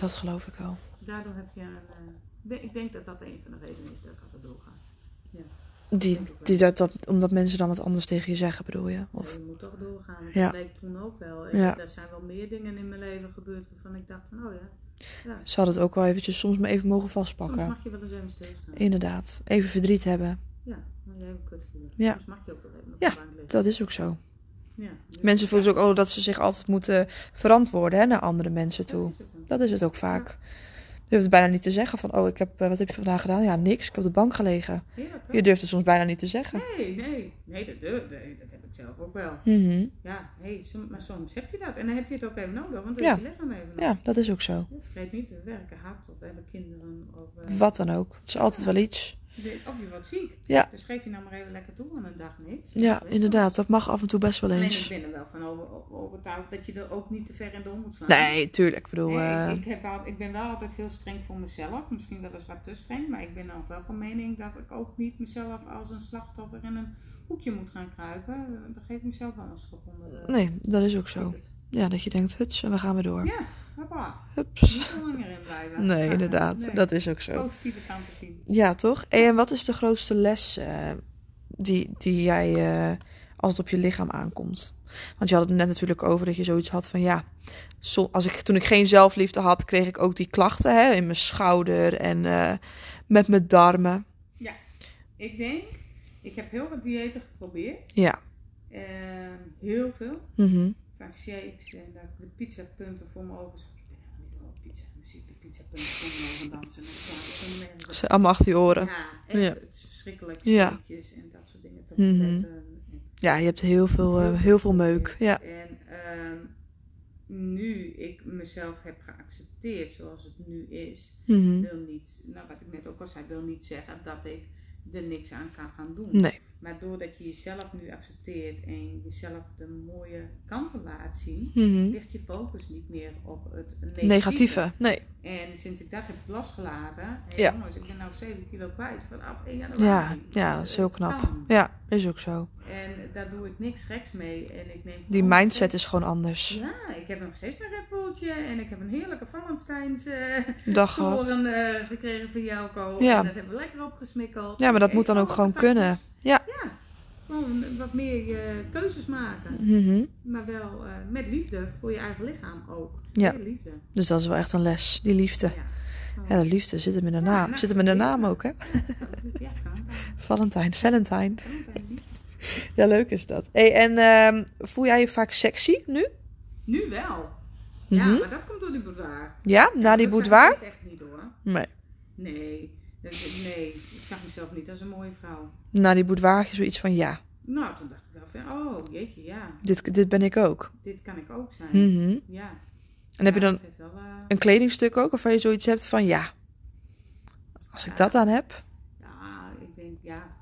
Speaker 1: Dat geloof ik wel.
Speaker 2: daardoor heb je een... eh, de- ik denk dat dat een van de redenen is dat ik altijd doorga.
Speaker 1: Die, die, dat, dat, omdat mensen dan wat anders tegen je zeggen, bedoel je?
Speaker 2: Of...
Speaker 1: Of,
Speaker 2: Je moet toch doorgaan. want
Speaker 1: Ja.
Speaker 2: Dat bleek toen ook wel. En
Speaker 1: Ja.
Speaker 2: Er zijn wel meer dingen in mijn leven gebeurd waarvan ik dacht van oh ja. ja.
Speaker 1: ze hadden het ook wel eventjes soms maar even mogen
Speaker 2: Soms
Speaker 1: vastpakken.
Speaker 2: mag je wel eens even stilstaan.
Speaker 1: Inderdaad. Even verdriet hebben.
Speaker 2: Ja, maar jij hebt kut voelen.
Speaker 1: Ja.
Speaker 2: Soms mag je ook wel even op
Speaker 1: Ja.
Speaker 2: de bank liggen.
Speaker 1: Dat is ook zo.
Speaker 2: Ja. Dus
Speaker 1: Mensen voelen zich ook dat ze zich altijd moeten verantwoorden hè, naar andere mensen
Speaker 2: dat
Speaker 1: toe.
Speaker 2: is het dan.
Speaker 1: Dat is het ook vaak. Je hoeft het bijna niet te zeggen van, oh, ik heb, eh, wat heb je vandaag gedaan? Ja, niks. Ik heb op de bank gelegen.
Speaker 2: Heerlijk, toch?
Speaker 1: Je durft het soms bijna niet te zeggen.
Speaker 2: Nee, nee. Nee, dat, durf- nee, dat heb ik zelf ook wel.
Speaker 1: Mhm.
Speaker 2: Ja, hey, som- maar soms heb je dat. En dan heb je het ook even nodig, want dan
Speaker 1: Ja.
Speaker 2: is je lichaam even nodig.
Speaker 1: Ja, dat is ook zo.
Speaker 2: Ja, Vergeet niet, we werken hard of we hebben kinderen. Of, eh,
Speaker 1: Wat dan ook. Het is altijd wel iets.
Speaker 2: de- of je wordt ziek.
Speaker 1: Ja.
Speaker 2: Dus geef je nou maar even lekker toe aan een dag niks.
Speaker 1: Ja, inderdaad. Dat mag af en toe best wel
Speaker 2: Alleen ik
Speaker 1: eens.
Speaker 2: ben er wel van over, over- overtuigd dat je er ook niet te ver in door moet slaan.
Speaker 1: Nee, tuurlijk. Ik bedoel,
Speaker 2: Nee,
Speaker 1: eh,
Speaker 2: ik, ik, heb al, ik ben wel altijd heel streng voor mezelf. Misschien wel eens wat te streng. Maar ik ben ook wel van mening dat ik ook niet mezelf als een slachtoffer in een hoekje moet gaan kruipen. Dan geef ik mezelf wel een schop onder de...
Speaker 1: nee, dat is ook zo. Ja, dat je denkt, huts, en we gaan weer door.
Speaker 2: Ja, hoppa.
Speaker 1: Hups.
Speaker 2: Niet te langer in blijven.
Speaker 1: Nee,
Speaker 2: Ja,
Speaker 1: inderdaad.
Speaker 2: nee.
Speaker 1: Dat is ook zo.
Speaker 2: Positieve kanten zien.
Speaker 1: Ja, toch? En wat is de grootste les eh, die, die jij eh, als het op je lichaam aankomt? Want je had het net natuurlijk over dat je zoiets had van ja, so- als ik, toen ik geen zelfliefde had, kreeg ik ook die klachten hè, in mijn schouder en eh, met mijn darmen.
Speaker 2: Ik denk, ik heb heel wat diëten geprobeerd.
Speaker 1: Ja.
Speaker 2: Ehm, heel veel.
Speaker 1: Mhm.
Speaker 2: van shakes en dat ik de pizzapunten voor mijn ogen zag. Ik ben helemaal niet over pizza. En dan zie ik de pizzapunten voor mijn ogen dansen. En dan kom ik
Speaker 1: Ze zijn allemaal achter je oren.
Speaker 2: Ja, echt
Speaker 1: Ja.
Speaker 2: het is verschrikkelijk.
Speaker 1: Ja.
Speaker 2: Steekjes en dat soort dingen. te
Speaker 1: Mhm.
Speaker 2: verzetten. En
Speaker 1: Ja, je hebt heel veel, eh, heel veel meuk. Ja.
Speaker 2: en ehm, nu ik mezelf heb geaccepteerd zoals het nu is,
Speaker 1: Mhm.
Speaker 2: wil niet, nou wat ik net ook al zei, wil niet zeggen dat ik er niks aan kan gaan doen.
Speaker 1: Nee.
Speaker 2: Maar doordat je jezelf nu accepteert en jezelf de mooie kanten laat zien,
Speaker 1: Mhm.
Speaker 2: ligt je focus niet meer op het negatieve.
Speaker 1: Negatieve. Nee.
Speaker 2: En sinds ik dat heb losgelaten, hey,
Speaker 1: Ja.
Speaker 2: jongens, ik ben nou 7 kilo kwijt vanaf 1 januari.
Speaker 1: Ja, ja, dat
Speaker 2: Dus
Speaker 1: is heel
Speaker 2: het
Speaker 1: knap.
Speaker 2: kan.
Speaker 1: Ja, is ook zo.
Speaker 2: En daar doe ik niks geks mee. En ik neem
Speaker 1: Die
Speaker 2: gewoon
Speaker 1: mindset is gewoon anders.
Speaker 2: ja, ik heb nog steeds mijn Red Bulltje en ik heb een heerlijke Valentijns eh,
Speaker 1: Dag gehad.
Speaker 2: toren eh, gekregen van Jelko.
Speaker 1: Ja.
Speaker 2: En dat hebben we lekker opgesmikkeld.
Speaker 1: Ja, maar dat
Speaker 2: Ik
Speaker 1: moet dan
Speaker 2: eet
Speaker 1: ook gewoon
Speaker 2: patatjes.
Speaker 1: kunnen. Ja.
Speaker 2: Ja, gewoon wat meer eh, keuzes maken.
Speaker 1: Mhm.
Speaker 2: Maar wel eh, met liefde voor je eigen lichaam ook.
Speaker 1: Ja.
Speaker 2: Meer liefde.
Speaker 1: Dus dat is wel echt een les, die liefde.
Speaker 2: Ja.
Speaker 1: Ja, de liefde zit hem in de
Speaker 2: Ja,
Speaker 1: naam.
Speaker 2: nou,
Speaker 1: Zit hem in de naam ook, hè?
Speaker 2: Zo, ja, Valentijn,
Speaker 1: Valentijn, Valentijn.
Speaker 2: Valentijn, liefde.
Speaker 1: Ja, leuk is dat. Hey, en ehm, voel jij je vaak sexy nu?
Speaker 2: Nu wel.
Speaker 1: Mhm.
Speaker 2: Ja, maar dat komt door die boudoir.
Speaker 1: Ja, na die
Speaker 2: Dat zag ik
Speaker 1: boudoir?
Speaker 2: eerst echt niet hoor.
Speaker 1: Nee.
Speaker 2: Nee. Dat- Nee, ik zag mezelf niet als een mooie vrouw.
Speaker 1: Na die boudoir had je zoiets van, ja,
Speaker 2: Nou, toen dacht ik wel van, oh jeetje, ja,
Speaker 1: dit, dit ben ik ook.
Speaker 2: dit kan ik ook zijn.
Speaker 1: Mhm.
Speaker 2: Ja.
Speaker 1: En heb je dan
Speaker 2: dat heeft wel, eh,
Speaker 1: een kledingstuk ook, of waar je zoiets hebt van, ja, als ik dat aan heb.
Speaker 2: ja, ik denk, ja.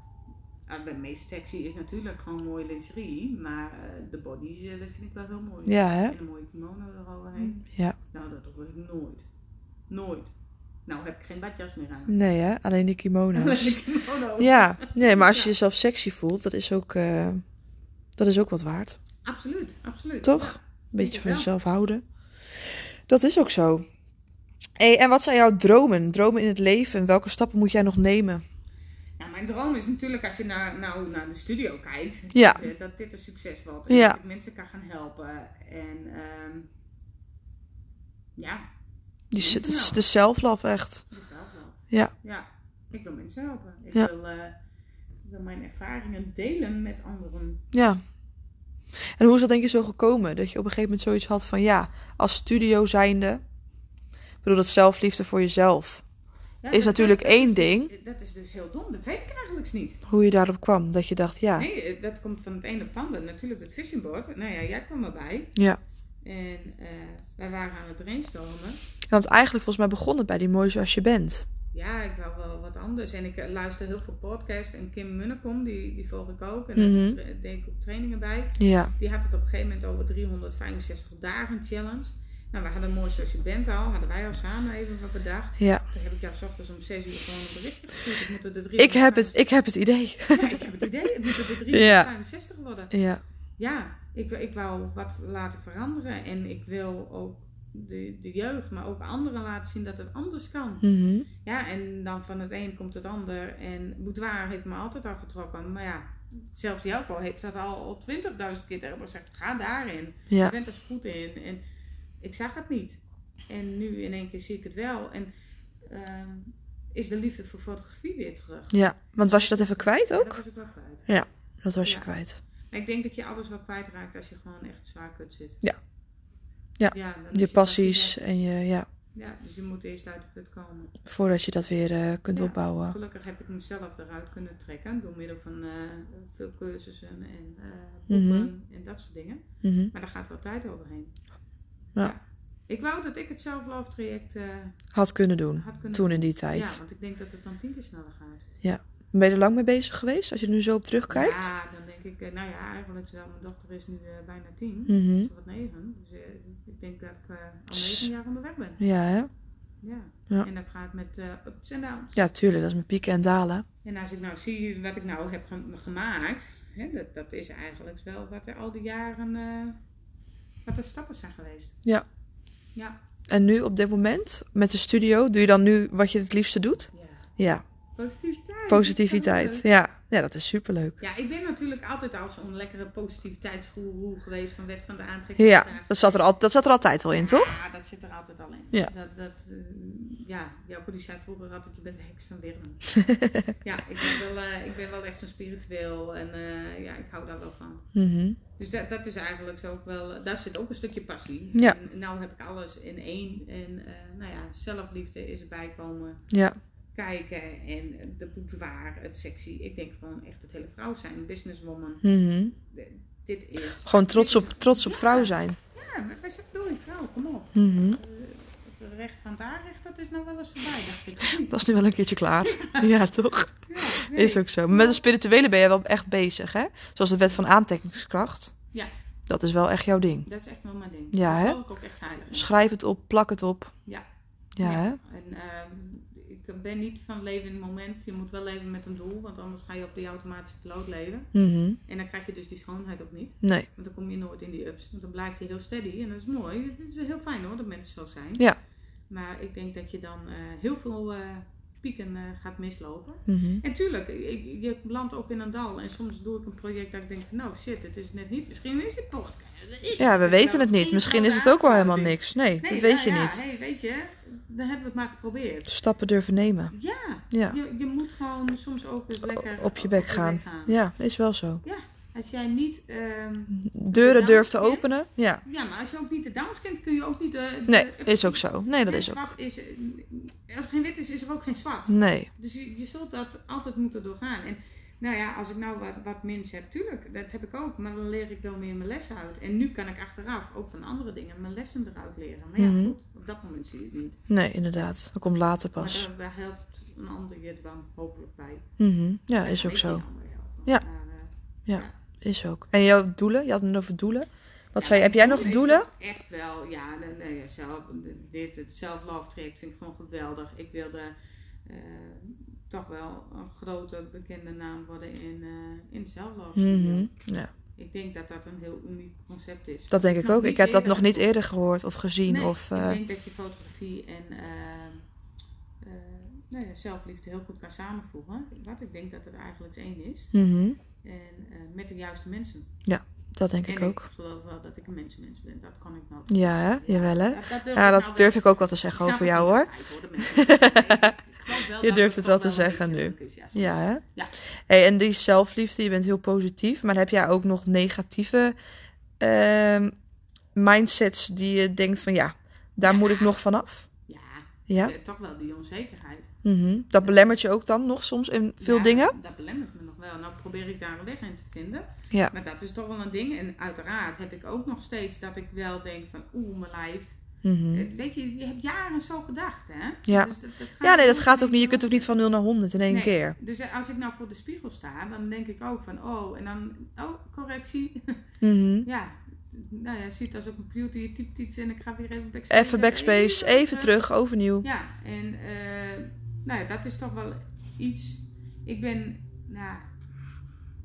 Speaker 2: Ah, De meest sexy is natuurlijk gewoon mooi lingerie, maar eh, de bodies, eh, dat vind ik wel heel mooi.
Speaker 1: Ja, Mm. hè?
Speaker 2: En een mooie kimono eroverheen.
Speaker 1: Ja.
Speaker 2: Nou, dat hoor ik nooit. Nooit. Nou heb ik geen badjas meer aan.
Speaker 1: Nee, hè? Alleen die
Speaker 2: Alleen
Speaker 1: kimono's.
Speaker 2: de kimono.
Speaker 1: Ja, nee, maar als je jezelf sexy voelt, dat is ook, eh, dat is ook wat waard.
Speaker 2: Absoluut, absoluut.
Speaker 1: Toch? Een beetje
Speaker 2: het
Speaker 1: van
Speaker 2: wel.
Speaker 1: jezelf houden. Dat is ook zo. Hey, en wat zijn jouw dromen? Dromen in het leven? En welke stappen moet jij nog nemen?
Speaker 2: Ja, mijn droom is natuurlijk als je naar, nou, naar de studio kijkt,
Speaker 1: Ja.
Speaker 2: dat, eh, dat dit een succes wordt. En
Speaker 1: Ja.
Speaker 2: dat ik mensen kan gaan helpen. En ehm, ja,
Speaker 1: Die, s- dat is de self-love echt.
Speaker 2: jezelf wel.
Speaker 1: Ja.
Speaker 2: Ja, ik wil mensen helpen. Ik,
Speaker 1: Ja.
Speaker 2: wil, eh, ik wil mijn ervaringen delen met anderen.
Speaker 1: Ja. En hoe is dat denk je zo gekomen? Dat je op een gegeven moment zoiets had van ja, als studio zijnde. Ik bedoel, dat zelfliefde voor jezelf.
Speaker 2: Ja,
Speaker 1: Is
Speaker 2: dat-
Speaker 1: natuurlijk
Speaker 2: dat-
Speaker 1: één
Speaker 2: dat is-
Speaker 1: ding.
Speaker 2: Dat is dus heel dom. Dat weet ik eigenlijk niet.
Speaker 1: Hoe je daarop kwam. Dat je dacht ja.
Speaker 2: Nee, eh, dat komt van het ene op het ander. Natuurlijk het vision board. Nou ja, jij kwam erbij.
Speaker 1: Ja.
Speaker 2: En eh, wij waren aan het brainstormen.
Speaker 1: Want eigenlijk volgens mij begon het bij die mooie zoals je bent.
Speaker 2: ja, ik wou wel wat anders. En ik eh, luister heel veel podcasts. En Kim Munnekom, die, die volg ik ook. En
Speaker 1: Mhm.
Speaker 2: daar tra- deed ik ook trainingen bij.
Speaker 1: Ja.
Speaker 2: Die had het op een gegeven moment over 365 dagen challenge. Nou, we hadden mooi zoals je bent al. Hadden wij al samen even wat bedacht.
Speaker 1: Ja.
Speaker 2: Toen heb ik jou 's ochtends om 6 uur gewoon een bericht gestuurd. Ik, moet er de
Speaker 1: Ik heb het, ik heb het idee.
Speaker 2: 365 Ja, ik heb het idee. Het moet er de 365 worden.
Speaker 1: Ja.
Speaker 2: Ja, ik, ik wou wat laten veranderen. En ik wil ook de, de jeugd, maar ook anderen laten zien dat het anders kan.
Speaker 1: Mhm.
Speaker 2: Ja, en dan van het een komt het ander. En boudoir heeft me altijd al getrokken. Maar ja, zelfs Jelko heeft dat al, al 20.000 keer tegen me gezegd. Ga daarin.
Speaker 1: Ja.
Speaker 2: Je bent er zo goed in. En ik zag het niet. En nu in één keer zie ik het wel. En ehm, is de liefde voor fotografie weer terug.
Speaker 1: Ja, want was je dat even kwijt
Speaker 2: Ja,
Speaker 1: ook?
Speaker 2: dat was ik wel kwijt.
Speaker 1: Dat was je
Speaker 2: Ja.
Speaker 1: kwijt.
Speaker 2: Maar ik denk dat je alles wel kwijtraakt als je gewoon echt zwaar kut zit.
Speaker 1: Ja. Ja,
Speaker 2: dan is
Speaker 1: Je passies en je, ja,
Speaker 2: Ja, dus je moet eerst uit de put komen.
Speaker 1: voordat je dat weer eh, kunt
Speaker 2: Ja.
Speaker 1: opbouwen.
Speaker 2: Gelukkig heb ik mezelf eruit kunnen trekken door middel van eh, veel cursussen en eh boeken
Speaker 1: Mhm.
Speaker 2: en dat soort dingen.
Speaker 1: Mhm.
Speaker 2: Maar daar gaat wel tijd overheen.
Speaker 1: Ja.
Speaker 2: Ik wou dat ik het zelflove traject eh,
Speaker 1: Had kunnen doen,
Speaker 2: had kunnen
Speaker 1: toen in die
Speaker 2: doen.
Speaker 1: tijd.
Speaker 2: Ja, want ik denk dat het dan tien keer sneller gaat.
Speaker 1: Ben je er lang mee bezig geweest, als je er nu zo op terugkijkt?
Speaker 2: Ja, dan denk ik, eh, nou ja, eigenlijk wel. Mijn dochter is nu eh, bijna tien.
Speaker 1: Mhm.
Speaker 2: Ze wordt negen. Dus eh, ik denk dat ik eh, al
Speaker 1: Tss.
Speaker 2: negen jaar onderweg ben.
Speaker 1: Ja, hè?
Speaker 2: Ja.
Speaker 1: Ja.
Speaker 2: En dat gaat met eh, ups en downs.
Speaker 1: Ja, tuurlijk, dat is met pieken en dalen.
Speaker 2: En als ik nou zie wat ik nou heb ge- gemaakt, hè, dat, dat is eigenlijk wel wat er al die jaren, eh, wat de stappen zijn geweest.
Speaker 1: Ja.
Speaker 2: Ja.
Speaker 1: En nu op dit moment, met de studio, doe je dan nu wat je het liefste doet?
Speaker 2: ja.
Speaker 1: Ja,
Speaker 2: Positiviteit.
Speaker 1: positiviteit. Ja, ja dat is superleuk.
Speaker 2: Ja, ik ben natuurlijk altijd als een lekkere positiviteitsgoeroe geweest van wet van de aantrekking.
Speaker 1: Ja, dat zat er, al, dat zat er altijd al in, toch?
Speaker 2: Ja, dat zit er altijd al in.
Speaker 1: Ja.
Speaker 2: Dat, dat, eh, ja, Jelko die zei vroeger altijd, je bent de heks van Wirren. ja, ik ben, wel, eh, ik ben wel echt zo spiritueel en eh, ja, ik hou daar wel van.
Speaker 1: Mhm.
Speaker 2: Dus dat, dat is eigenlijk zo ook wel, daar zit ook een stukje passie.
Speaker 1: Ja.
Speaker 2: En nou heb ik alles in één. En eh, nou ja, zelfliefde is erbij komen
Speaker 1: Ja,
Speaker 2: kijken en de boudoir, het sexy. Ik denk gewoon echt het hele vrouw zijn, businesswoman.
Speaker 1: mhm.
Speaker 2: Dit is...
Speaker 1: gewoon trots op, trots op vrouw zijn.
Speaker 2: Ja, wij zijn je vrouw, kom op.
Speaker 1: Mhm.
Speaker 2: Het recht van daar recht, dat is nou wel eens voorbij, dacht ik. of niet?
Speaker 1: Dat is nu wel een keertje klaar. Ja, toch?
Speaker 2: Ja, nee.
Speaker 1: Is ook zo. Maar met het spirituele ben je wel echt bezig, hè? Zoals de wet van aantrekkingskracht.
Speaker 2: Ja.
Speaker 1: Dat is wel echt jouw ding.
Speaker 2: Dat is echt wel mijn ding.
Speaker 1: Ja,
Speaker 2: Daar
Speaker 1: hè?
Speaker 2: geloof ik ook echt heilig in.
Speaker 1: Schrijf het op, plak het op.
Speaker 2: Ja.
Speaker 1: Ja, hè?
Speaker 2: En ehm, ik ben niet van leven in het moment. Je moet wel leven met een doel, want anders ga je op die automatische piloot leven.
Speaker 1: Mhm.
Speaker 2: En dan krijg je dus die schoonheid ook niet.
Speaker 1: Nee.
Speaker 2: Want dan kom je nooit in die ups. Want dan blijf je heel steady en dat is mooi. Het is heel fijn hoor, dat mensen zo zijn.
Speaker 1: Ja.
Speaker 2: Maar ik denk dat je dan eh, heel veel eh, pieken eh, gaat mislopen.
Speaker 1: Mhm.
Speaker 2: En tuurlijk, ik, ik- je landt ook in een dal. En soms doe ik een project dat ik denk van, nou shit, het is net niet. Misschien is het podcast.
Speaker 1: Ja, we weten het niet. Misschien is het ook wel helemaal niks. Nee,
Speaker 2: Nee,
Speaker 1: dat weet
Speaker 2: nou
Speaker 1: je
Speaker 2: ja,
Speaker 1: niet.
Speaker 2: hey, weet je, dan hebben we het maar geprobeerd.
Speaker 1: Stappen durven nemen.
Speaker 2: Ja,
Speaker 1: Ja.
Speaker 2: je, je moet gewoon soms ook eens lekker
Speaker 1: Op je bek gaan. Ja, is wel zo.
Speaker 2: Als jij niet, ehm,
Speaker 1: Deuren durft te
Speaker 2: Ja.
Speaker 1: openen. Ja.
Speaker 2: ja, maar als je ook niet de downs kent, kun je ook niet de. de-
Speaker 1: Nee, is ook zo. Nee, dat
Speaker 2: Ja,
Speaker 1: is ook.
Speaker 2: zwart is, eh, als er geen wit is, is er ook geen zwart.
Speaker 1: Nee.
Speaker 2: Dus je, je zult dat altijd moeten doorgaan. En nou ja, als ik nou wat, wat mins heb, tuurlijk, dat heb ik ook. Maar dan leer ik wel meer mijn les uit. En nu kan ik achteraf ook van andere dingen mijn lessen eruit leren. Maar ja,
Speaker 1: Mhm.
Speaker 2: goed, op dat moment zie je het niet.
Speaker 1: Nee, inderdaad. Dat komt later
Speaker 2: Maar
Speaker 1: pas.
Speaker 2: daar, daar helpt een ander je dan hopelijk bij.
Speaker 1: Mhm. Ja, is
Speaker 2: Ik
Speaker 1: ook
Speaker 2: kan
Speaker 1: zo.
Speaker 2: je allemaal helpen.
Speaker 1: Ja.
Speaker 2: Maar, eh,
Speaker 1: Is ook. En jouw doelen? Je had het over doelen. Wat
Speaker 2: ja,
Speaker 1: zei je? Heb jij nog
Speaker 2: is
Speaker 1: doelen?
Speaker 2: toch Echt wel, ja. de- nou ja, zelf, de- dit, het self-love traject vind ik gewoon geweldig. Ik wilde eh, toch wel een grote bekende naam worden in, eh in self-love.
Speaker 1: Mhm. Ja,
Speaker 2: Ik denk dat dat een heel uniek concept is.
Speaker 1: dat denk ik
Speaker 2: Nog
Speaker 1: ook.
Speaker 2: niet
Speaker 1: Ik heb dat
Speaker 2: eerder
Speaker 1: nog niet
Speaker 2: gehoord.
Speaker 1: eerder gehoord of gezien.
Speaker 2: Nee,
Speaker 1: Of, eh,
Speaker 2: Ik denk dat je fotografie en eh, eh, nou ja, zelfliefde heel goed kan samenvoegen. Wat ik denk dat het eigenlijk één is.
Speaker 1: mhm.
Speaker 2: En eh, met de juiste mensen.
Speaker 1: Dat denk ik
Speaker 2: en
Speaker 1: ook.
Speaker 2: ik geloof wel dat ik een mensenmens ben. Dat kan ik nou.
Speaker 1: Ja, hè? Jawel, hè?
Speaker 2: dat durf
Speaker 1: Ja,
Speaker 2: nou
Speaker 1: dat
Speaker 2: wel
Speaker 1: durf
Speaker 2: te
Speaker 1: ik ook wel te zeggen over jou, hoor. Je durft het wel te zeggen nu. Ja, hè?
Speaker 2: Ja.
Speaker 1: Hey, en die zelfliefde, je bent heel positief, maar heb jij ook nog negatieve ehm, mindsets die je denkt van ja, daar
Speaker 2: Ja.
Speaker 1: moet ik nog vanaf?
Speaker 2: Ja,
Speaker 1: Ja.
Speaker 2: eh, toch wel die onzekerheid.
Speaker 1: Mhm. Dat belemmert je ook dan nog soms in veel
Speaker 2: Ja,
Speaker 1: dingen?
Speaker 2: Dat belemmert me nog wel. Nou probeer ik daar een weg in te vinden.
Speaker 1: Ja.
Speaker 2: Maar dat is toch wel een ding. En uiteraard heb ik ook nog steeds dat ik wel denk van oeh, mijn lijf.
Speaker 1: Mhm.
Speaker 2: Eh, Weet je, je hebt jaren zo gedacht, hè?
Speaker 1: Ja.
Speaker 2: Dus dat, dat gaat
Speaker 1: Ja, nee, dat
Speaker 2: niet
Speaker 1: gaat
Speaker 2: in
Speaker 1: ook niet. Je
Speaker 2: één
Speaker 1: kunt ook niet van 0 naar 100 in één
Speaker 2: Nee.
Speaker 1: keer.
Speaker 2: Dus eh, als ik nou voor de spiegel sta, dan denk ik ook van oh, en dan oh, correctie.
Speaker 1: Mhm.
Speaker 2: Ja, nou ja, ziet als op een computer, je typt iets en ik ga weer even backspace.
Speaker 1: Even backspace,
Speaker 2: zetten.
Speaker 1: even terug, overnieuw.
Speaker 2: Ja, en eh, nou ja, dat is toch wel iets. Ik ben, nou,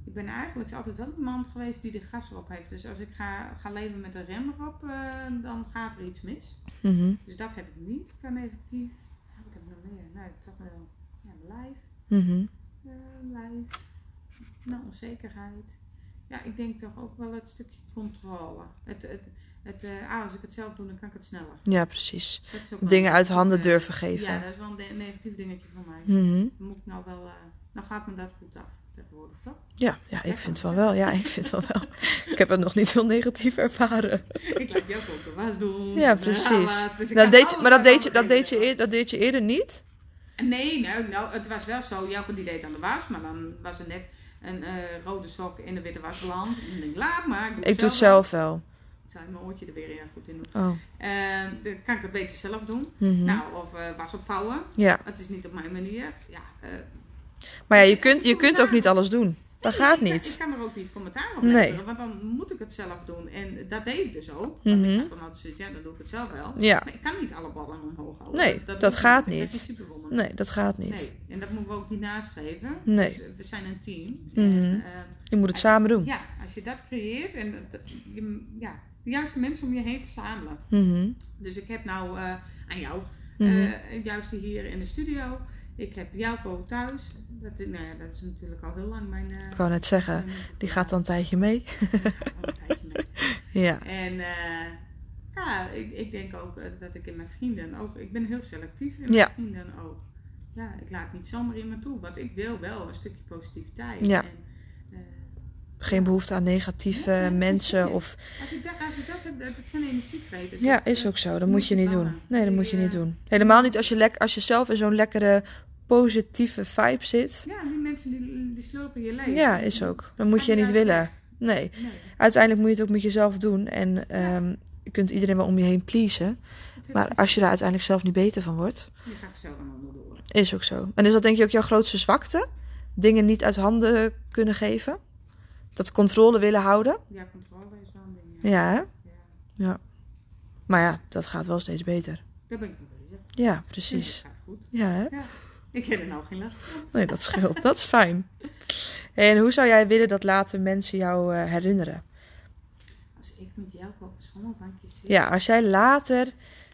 Speaker 2: ik ben eigenlijk altijd wel iemand geweest die de gas erop heeft. Dus als ik ga, ga leven met de rem erop, eh, dan gaat er iets mis.
Speaker 1: Mhm.
Speaker 2: Dus dat heb ik niet qua negatief. Ja, Wat heb ik nog meer? Nou, ik heb toch wel ja, mijn lijf,
Speaker 1: Mhm.
Speaker 2: eh, lijf, nou, onzekerheid. Ja, ik denk toch ook wel het stukje controle. Het, het, het, eh, ah, als ik het zelf doe, dan kan ik het sneller.
Speaker 1: Ja, precies.
Speaker 2: Dat is ook wel
Speaker 1: Dingen
Speaker 2: een-
Speaker 1: uit handen
Speaker 2: eh,
Speaker 1: durven
Speaker 2: Ja,
Speaker 1: geven.
Speaker 2: dat is wel een de- negatief dingetje van mij.
Speaker 1: Mhm.
Speaker 2: Moet ik nou wel, eh, nou gaat me dat goed af tegenwoordig, toch?
Speaker 1: Ja, ja, ik
Speaker 2: Lekker.
Speaker 1: vind van wel. Ja, ik vind van wel. Ik heb het nog niet heel negatief ervaren.
Speaker 2: ik laat jou ook de was doen.
Speaker 1: Ja,
Speaker 2: de
Speaker 1: precies.
Speaker 2: afwas, dus ik
Speaker 1: Dat
Speaker 2: kan
Speaker 1: deed je,
Speaker 2: alles
Speaker 1: maar dat
Speaker 2: aan
Speaker 1: deed je, dat
Speaker 2: anderen
Speaker 1: deed je,
Speaker 2: geven.
Speaker 1: eer- dat deed je eerder niet?
Speaker 2: Nee, nou, nou, het was wel zo. Jelke die deed aan de was, maar dan was er net een eh, rode sok in de witte was beland. En ik denk, laat maar.
Speaker 1: Ik doe het zelf wel.
Speaker 2: wel. Ik zou mijn oortje er weer heel goed in doen.
Speaker 1: Oh.
Speaker 2: Eh, dan kan ik dat beter zelf doen.
Speaker 1: mhm.
Speaker 2: Nou, of eh, was opvouwen.
Speaker 1: Ja,
Speaker 2: Het is niet op mijn manier. Ja, eh,
Speaker 1: maar ja, je
Speaker 2: Als je
Speaker 1: kunt, je
Speaker 2: commentaar-
Speaker 1: kunt ook niet alles doen. Dat
Speaker 2: nee,
Speaker 1: gaat
Speaker 2: ik- Ik,
Speaker 1: niet.
Speaker 2: kan er ook niet commentaar op
Speaker 1: Nee.
Speaker 2: leveren, want dan moet ik het zelf doen. En dat deed ik dus ook. Want
Speaker 1: Mhm.
Speaker 2: ik had dan altijd zoiets, ja, dan doe ik het zelf wel.
Speaker 1: Ja,
Speaker 2: Maar ik kan niet alle ballen omhoog houden.
Speaker 1: Nee, dat
Speaker 2: doe ik
Speaker 1: gaat
Speaker 2: Ik ben
Speaker 1: niet.
Speaker 2: geen superwoman.
Speaker 1: nee, dat gaat niet.
Speaker 2: Nee, en dat moeten we ook niet nastreven.
Speaker 1: Nee.
Speaker 2: Dus, eh, we zijn een team.
Speaker 1: Mhm.
Speaker 2: En, eh,
Speaker 1: Je moet het samen doen.
Speaker 2: ja, als je dat creëert en dat- je- ja, de juiste mensen om je heen verzamelen.
Speaker 1: Mhm,
Speaker 2: Dus ik heb nou eh, aan jou,
Speaker 1: mhm,
Speaker 2: eh, juist hier in de studio. Ik heb Jouko thuis. Dat, is- nou ja, dat is natuurlijk al heel lang mijn... eh,
Speaker 1: Ik wou net zeggen,
Speaker 2: mijn-
Speaker 1: die gaat dan een tijdje mee.
Speaker 2: Die gaat al een tijdje mee.
Speaker 1: Ja.
Speaker 2: En eh, Ja, ik, ik denk ook eh, dat ik in mijn vrienden ook... Ik ben heel selectief in
Speaker 1: Ja.
Speaker 2: mijn vrienden ook. Ja, ik laat niet zomaar iemand toe. Want ik wil wel een stukje positiviteit.
Speaker 1: Ja.
Speaker 2: En, eh,
Speaker 1: Geen behoefte aan negatieve
Speaker 2: Nee, nee,
Speaker 1: mensen
Speaker 2: precies.
Speaker 1: of...
Speaker 2: als, ik dat, als ik dat heb, dat dat zijn energievreters.
Speaker 1: Ja,
Speaker 2: Dat,
Speaker 1: is
Speaker 2: eh,
Speaker 1: ook zo. Dat
Speaker 2: moet
Speaker 1: moet je
Speaker 2: je
Speaker 1: niet
Speaker 2: plannen.
Speaker 1: doen. Nee, dat
Speaker 2: Die,
Speaker 1: moet je niet
Speaker 2: eh,
Speaker 1: doen. Helemaal niet als je, lek- als je zelf in zo'n lekkere, positieve vibe zit.
Speaker 2: Ja, die mensen die, die slopen je leven.
Speaker 1: Ja, is ook. Dat moet
Speaker 2: Ga
Speaker 1: je
Speaker 2: je
Speaker 1: niet
Speaker 2: daar-
Speaker 1: willen. Nee.
Speaker 2: Nee,
Speaker 1: Uiteindelijk moet je het ook met jezelf doen. En ehm, je kunt iedereen wel om je heen pleasen.
Speaker 2: het heeft
Speaker 1: Maar
Speaker 2: geen
Speaker 1: als je daar uiteindelijk zelf niet beter van wordt,
Speaker 2: zin. Je gaat er zo aan onderdoor.
Speaker 1: is ook zo. En is dat denk je ook jouw grootste zwakte? Dingen niet uit handen kunnen geven? Dat controle willen houden?
Speaker 2: Ja, controle is wel een ding. Ja.
Speaker 1: Ja, hè?
Speaker 2: Ja.
Speaker 1: Maar ja, dat gaat wel steeds beter.
Speaker 2: Daar ben ik mee bezig.
Speaker 1: Ja,
Speaker 2: Dus
Speaker 1: precies.
Speaker 2: het gaat goed.
Speaker 1: Ja, hè?
Speaker 2: Ik heb er nou geen last van.
Speaker 1: Nee, dat scheelt. Dat is fijn. En hoe zou jij willen dat later mensen jou eh, herinneren?
Speaker 2: Als ik met jou op een schommelbankje zit.
Speaker 1: Ja, als jij later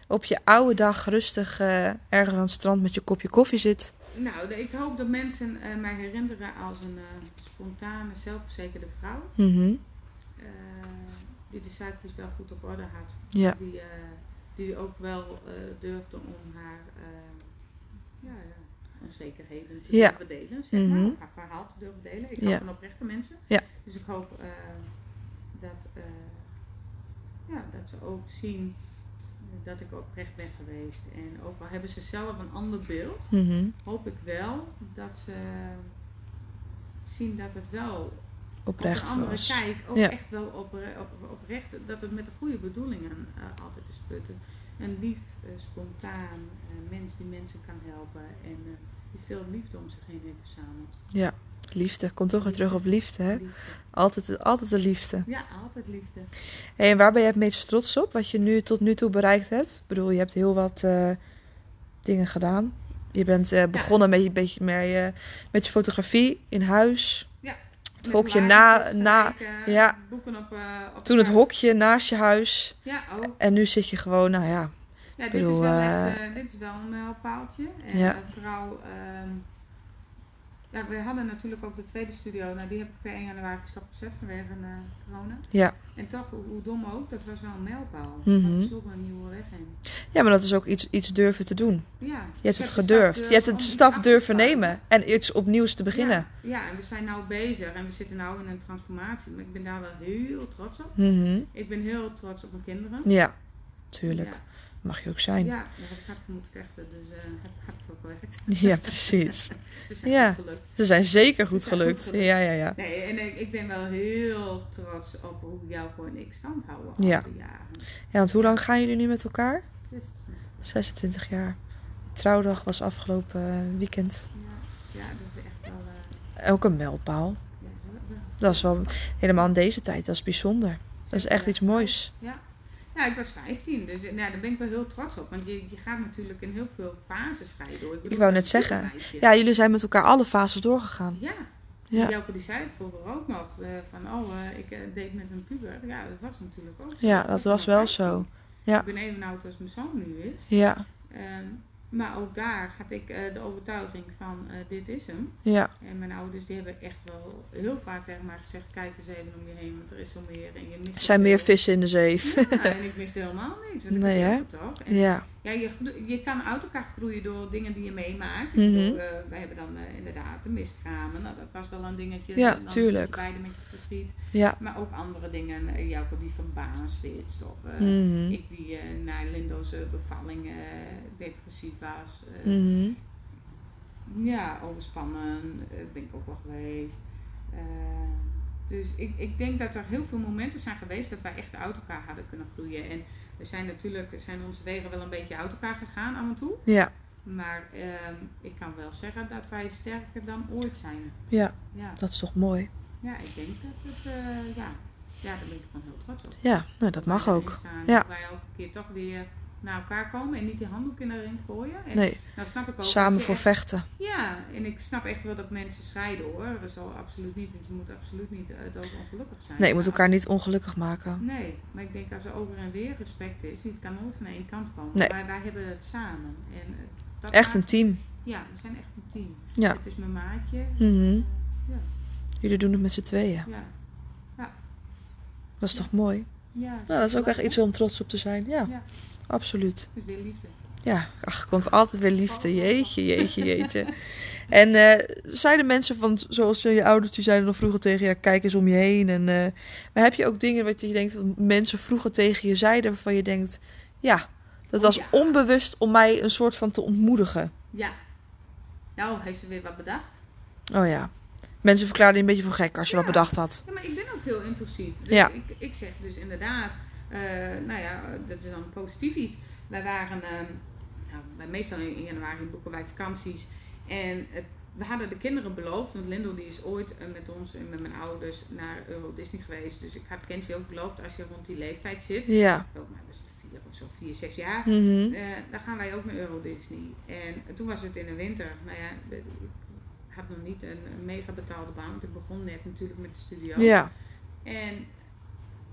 Speaker 1: op je oude dag rustig eh, ergens aan het strand met je kopje koffie zit.
Speaker 2: Nou, de- ik hoop dat mensen eh, mij herinneren als een eh, spontane, zelfverzekerde vrouw.
Speaker 1: Mhm.
Speaker 2: eh, die de zaakjes wel goed op orde had.
Speaker 1: Ja,
Speaker 2: Die, eh, die ook wel eh, durfde om haar eh, ja, ja, onzekerheden te
Speaker 1: Ja.
Speaker 2: durven delen. Zeg
Speaker 1: Mhm.
Speaker 2: maar, of haar verhaal te durven delen. Ik
Speaker 1: Ja.
Speaker 2: hou van oprechte mensen.
Speaker 1: Ja.
Speaker 2: Dus ik hoop eh, dat, eh, ja, dat ze ook zien dat ik oprecht ben geweest. En ook al hebben ze zelf een ander beeld
Speaker 1: Mhm.
Speaker 2: hoop ik wel dat ze zien dat het wel op
Speaker 1: oprecht
Speaker 2: een andere
Speaker 1: was.
Speaker 2: kijk ook
Speaker 1: Ja.
Speaker 2: echt wel opre- op- oprecht dat het met de goede bedoelingen eh, altijd is putten. Een lief, eh, spontaan eh, mens die mensen kan helpen en eh, die veel liefde om zich heen heeft verzameld.
Speaker 1: Liefde, kom toch weer terug op liefde. Hè?
Speaker 2: Liefde.
Speaker 1: Altijd, altijd de liefde.
Speaker 2: Ja, altijd liefde.
Speaker 1: Hey, en waar ben jij het meest trots op wat je nu tot nu toe bereikt hebt? Ik bedoel, je hebt heel wat eh, dingen gedaan. Je bent eh, begonnen met, je- beetje met, je- met je fotografie in huis.
Speaker 2: Ja.
Speaker 1: Het
Speaker 2: Met
Speaker 1: hokje na,
Speaker 2: laagjes
Speaker 1: na,
Speaker 2: strijken,
Speaker 1: ja.
Speaker 2: boeken op, eh, op
Speaker 1: toen het
Speaker 2: elkaar.
Speaker 1: hokje naast je huis.
Speaker 2: Ja, ook.
Speaker 1: En nu zit je gewoon, nou ja.
Speaker 2: Ja, dit,
Speaker 1: bedoel,
Speaker 2: is wel
Speaker 1: eh,
Speaker 2: echt, eh, dit is wel een mijlpaaltje. En
Speaker 1: Ja.
Speaker 2: eh, vooral, ehm, ja, we hadden natuurlijk ook de tweede studio. Nou, die heb ik per 1 januari stop gezet vanwege eh, corona.
Speaker 1: Ja.
Speaker 2: En toch, hoe hoe dom ook, dat was wel een mijlpaal.
Speaker 1: Mhm.
Speaker 2: Want we sloegen een nieuwe weg in.
Speaker 1: Ja, maar dat is ook iets, iets durven te doen.
Speaker 2: Ja, dus
Speaker 1: Je hebt
Speaker 2: de
Speaker 1: het
Speaker 2: stap
Speaker 1: gedurfd.
Speaker 2: durven
Speaker 1: Je hebt
Speaker 2: om
Speaker 1: het
Speaker 2: iets af
Speaker 1: stap
Speaker 2: te
Speaker 1: durven
Speaker 2: staan.
Speaker 1: nemen. En iets opnieuws te beginnen.
Speaker 2: Ja, ja, en we zijn nou bezig en we zitten nou in een transformatie. Maar ik ben daar wel heel trots op.
Speaker 1: Mhm. Ja,
Speaker 2: Ik ben heel trots op mijn kinderen.
Speaker 1: tuurlijk.
Speaker 2: Ja,
Speaker 1: Mag je ook
Speaker 2: ja,
Speaker 1: zijn. Ja,
Speaker 2: daar heb ik hard voor moeten vechten. Dus eh heb ik hard voor gewerkt.
Speaker 1: precies.
Speaker 2: Dus dat is
Speaker 1: Ja.
Speaker 2: goed gelukt.
Speaker 1: Ze zijn zeker goed
Speaker 2: Ze zijn
Speaker 1: gelukt.
Speaker 2: goed gelukt.
Speaker 1: Ja, ja, ja.
Speaker 2: Nee, en ik, ik ben wel heel trots op hoe Jouko en ik stand houden al
Speaker 1: Ja.
Speaker 2: die jaren. Dus
Speaker 1: Ja, want hoe lang gaan jullie nu met elkaar?
Speaker 2: Het is-
Speaker 1: 26 jaar. De trouwdag was afgelopen eh, weekend.
Speaker 2: ja, ja, dat is echt wel... eh,
Speaker 1: Ook een mijlpaal.
Speaker 2: ja, zo- ja,
Speaker 1: Dat is wel helemaal in deze tijd. Dat is bijzonder. Dat is
Speaker 2: zeker
Speaker 1: echt
Speaker 2: wel.
Speaker 1: iets moois.
Speaker 2: Ja. ja, ik was 15, dus eh, nou, daar ben ik wel heel trots op. Want je, je gaat natuurlijk in heel veel fases ga je door. bedoel,
Speaker 1: Ik wou
Speaker 2: als
Speaker 1: net zeggen,
Speaker 2: tienermeisje-
Speaker 1: Ja, jullie zijn met elkaar alle fases doorgegaan.
Speaker 2: Ja.
Speaker 1: Ja.
Speaker 2: Jouke die zei het vroeger ook nog, eh, van oh, eh, ik eh, deed met een puber. Ja, dat was natuurlijk ook zo.
Speaker 1: Ja,
Speaker 2: Ik
Speaker 1: dat was
Speaker 2: maar
Speaker 1: wel
Speaker 2: 15.
Speaker 1: zo. Ja.
Speaker 2: Ik ben even oud als mijn zoon nu is.
Speaker 1: Ja,
Speaker 2: Ehm, maar ook daar had ik eh, de overtuiging van eh, dit is hem.
Speaker 1: ja,
Speaker 2: En mijn ouders die hebben echt wel heel vaak tegen mij gezegd, kijk eens even om je heen, want er is zo meer en je mist
Speaker 1: er zijn meer
Speaker 2: zoveel."
Speaker 1: vissen in de zee.
Speaker 2: Ja, en ik miste helemaal niks, want ik
Speaker 1: Nee,
Speaker 2: nee,
Speaker 1: hè?
Speaker 2: heb toch. En
Speaker 1: Ja,
Speaker 2: ja, je, gro- je kan uit elkaar groeien door dingen die je meemaakt. Ik
Speaker 1: Mhm.
Speaker 2: bedoel, eh, wij hebben dan eh, inderdaad de miskramen. Nou, dat was wel een dingetje.
Speaker 1: Ja,
Speaker 2: En dan
Speaker 1: tuurlijk.
Speaker 2: zit je Beide met je verdriet.
Speaker 1: ja.
Speaker 2: Maar ook andere dingen. eh, Jouke die van baan switcht. Of eh,
Speaker 1: Mhm.
Speaker 2: ik die eh, na Lindo's eh, bevalling eh, depressief was. eh,
Speaker 1: Mhm.
Speaker 2: Ja, overspannen eh, ben ik ook wel geweest. Eh, dus ik, ik denk dat er heel veel momenten zijn geweest dat wij echt uit elkaar hadden kunnen groeien. En we zijn natuurlijk, zijn onze wegen wel een beetje uit elkaar gegaan af en toe.
Speaker 1: Ja,
Speaker 2: Maar ehm, ik kan wel zeggen dat wij sterker dan ooit zijn.
Speaker 1: ja,
Speaker 2: Ja,
Speaker 1: dat is toch mooi.
Speaker 2: ja ik denk dat het, eh, ja. ja, daar ben ik gewoon heel trots op.
Speaker 1: Ja, nou, dat mag
Speaker 2: wij erin
Speaker 1: ook.
Speaker 2: staan,
Speaker 1: Ja.
Speaker 2: Dat wij elke keer toch weer naar elkaar komen en niet die handdoek in de ring gooien. En
Speaker 1: Nee,
Speaker 2: nou snap ik ook,
Speaker 1: samen
Speaker 2: als je
Speaker 1: voor vechten.
Speaker 2: ja, en ik snap echt wel dat mensen scheiden hoor. Dat zal absoluut niet, want je moet absoluut niet eh, doodongelukkig zijn.
Speaker 1: Nee, je moet
Speaker 2: Maar
Speaker 1: elkaar niet ongelukkig maken.
Speaker 2: als- Nee, maar ik denk als er over en weer respect is, het kan nooit van één kant komen.
Speaker 1: Nee.
Speaker 2: Maar wij hebben het samen. En, eh, dat
Speaker 1: Echt een
Speaker 2: maakt-
Speaker 1: team.
Speaker 2: Ja, we zijn echt een team.
Speaker 1: Ja.
Speaker 2: Het is mijn maatje.
Speaker 1: Mhm.
Speaker 2: Ja,
Speaker 1: Jullie doen het met z'n tweeën.
Speaker 2: ja.
Speaker 1: Dat is toch mooi?
Speaker 2: Ja.
Speaker 1: Nou, dat is ook echt iets om trots op te zijn. Ja,
Speaker 2: Ja.
Speaker 1: absoluut.
Speaker 2: Dus weer liefde.
Speaker 1: Ja, ach, er komt altijd weer liefde. Jeetje, jeetje, jeetje. En eh, zeiden mensen van, zoals eh, je ouders, die zeiden dan vroeger tegen je, kijk eens om je heen. En, eh, maar heb je ook dingen wat je denkt, dat mensen vroeger tegen je zeiden, waarvan je denkt, Oh ja, dat was
Speaker 2: Ja.
Speaker 1: onbewust om mij een soort van te ontmoedigen.
Speaker 2: Ja. Nou, heeft ze weer wat bedacht.
Speaker 1: Oh ja. Mensen verklaarden je een beetje voor gek als je wat
Speaker 2: Ja.
Speaker 1: bedacht had.
Speaker 2: Ja, maar ik ben ook heel impulsief. Dus
Speaker 1: Ja.
Speaker 2: ik, ik zeg dus inderdaad, eh, nou ja, dat is dan positief iets. Wij waren, eh, nou, wij- meestal in, in januari boeken wij vakanties. En het- we hadden de kinderen beloofd, want Lindel die is ooit eh, met ons en met mijn ouders naar Euro Disney geweest. Dus ik had Kenzie ook beloofd, als je rond die leeftijd zit,
Speaker 1: Ja.
Speaker 2: ook maar was het vier of zo, vier, zes jaar.
Speaker 1: Mhm.
Speaker 2: Eh, dan gaan wij ook naar Euro Disney. En toen was het in de winter. Nou ja, ik had nog niet een een mega betaalde baan. Want ik begon net natuurlijk met de studio.
Speaker 1: Ja.
Speaker 2: En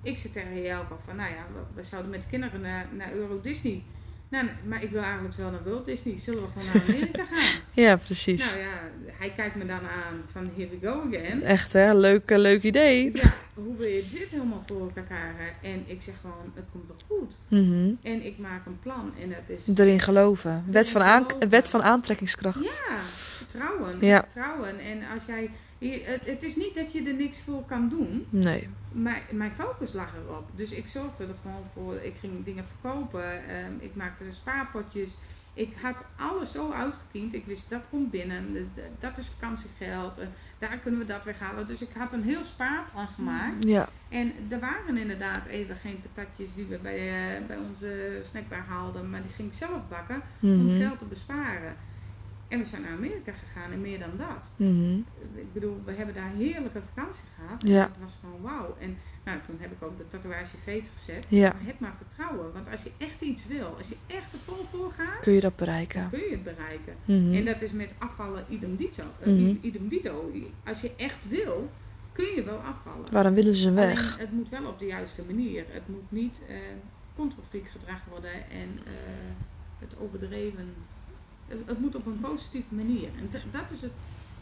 Speaker 2: ik zit tegen Jelka van, nou ja, we, we zouden met de kinderen naar, naar Euro Disney. Nou, maar ik wil eigenlijk wel naar World Disney. Zullen we gewoon naar Amerika gaan?
Speaker 1: ja, precies.
Speaker 2: nou ja, hij kijkt me dan aan van, here we go again.
Speaker 1: Echt hè, leuk, eh, leuk idee.
Speaker 2: Ja, hoe wil je dit helemaal voor elkaar krijgen? En ik zeg gewoon, het komt wel goed.
Speaker 1: Mhm.
Speaker 2: En ik maak een plan en dat is
Speaker 1: Erin geloven. Wet van, aan-
Speaker 2: geloven.
Speaker 1: wet van aantrekkingskracht.
Speaker 2: Ja, vertrouwen.
Speaker 1: Ja.
Speaker 2: Vertrouwen. En als jij. je- Het, het is niet dat je er niks voor kan doen,
Speaker 1: Nee.
Speaker 2: maar mijn focus lag erop. Dus ik zorgde er gewoon voor. Ik ging dingen verkopen, ehm, ik maakte er spaarpotjes. Ik had alles zo uitgekiend. Ik wist dat komt binnen, dat- dat is vakantiegeld, en daar kunnen we dat weghalen. Dus ik had een heel spaarplan gemaakt.
Speaker 1: Ja.
Speaker 2: En er waren inderdaad even geen patatjes die we bij, eh, bij onze snackbar haalden, maar die ging ik zelf bakken om
Speaker 1: Mhm.
Speaker 2: geld te besparen. En we zijn naar Amerika gegaan en meer dan dat.
Speaker 1: Mhm.
Speaker 2: Ik bedoel, we hebben daar heerlijke vakantie gehad.
Speaker 1: Ja.
Speaker 2: Het was gewoon wauw. En nou, toen heb ik ook de tatoeage veet gezet.
Speaker 1: Ja.
Speaker 2: Maar heb maar vertrouwen, want als je echt iets wil, als je echt er vol voor gaat,
Speaker 1: Kun je dat bereiken?
Speaker 2: kun je het bereiken.
Speaker 1: Mhm.
Speaker 2: En dat is met afvallen idem dito. eh,
Speaker 1: Mhm.
Speaker 2: idem dito. Als je echt wil, kun je wel afvallen.
Speaker 1: Waarom willen ze weg?
Speaker 2: Alleen, het moet wel op de juiste manier. Het moet niet eh controfriek gedrag worden en eh, het overdreven. Het, het moet op een positieve manier. En d- dat is het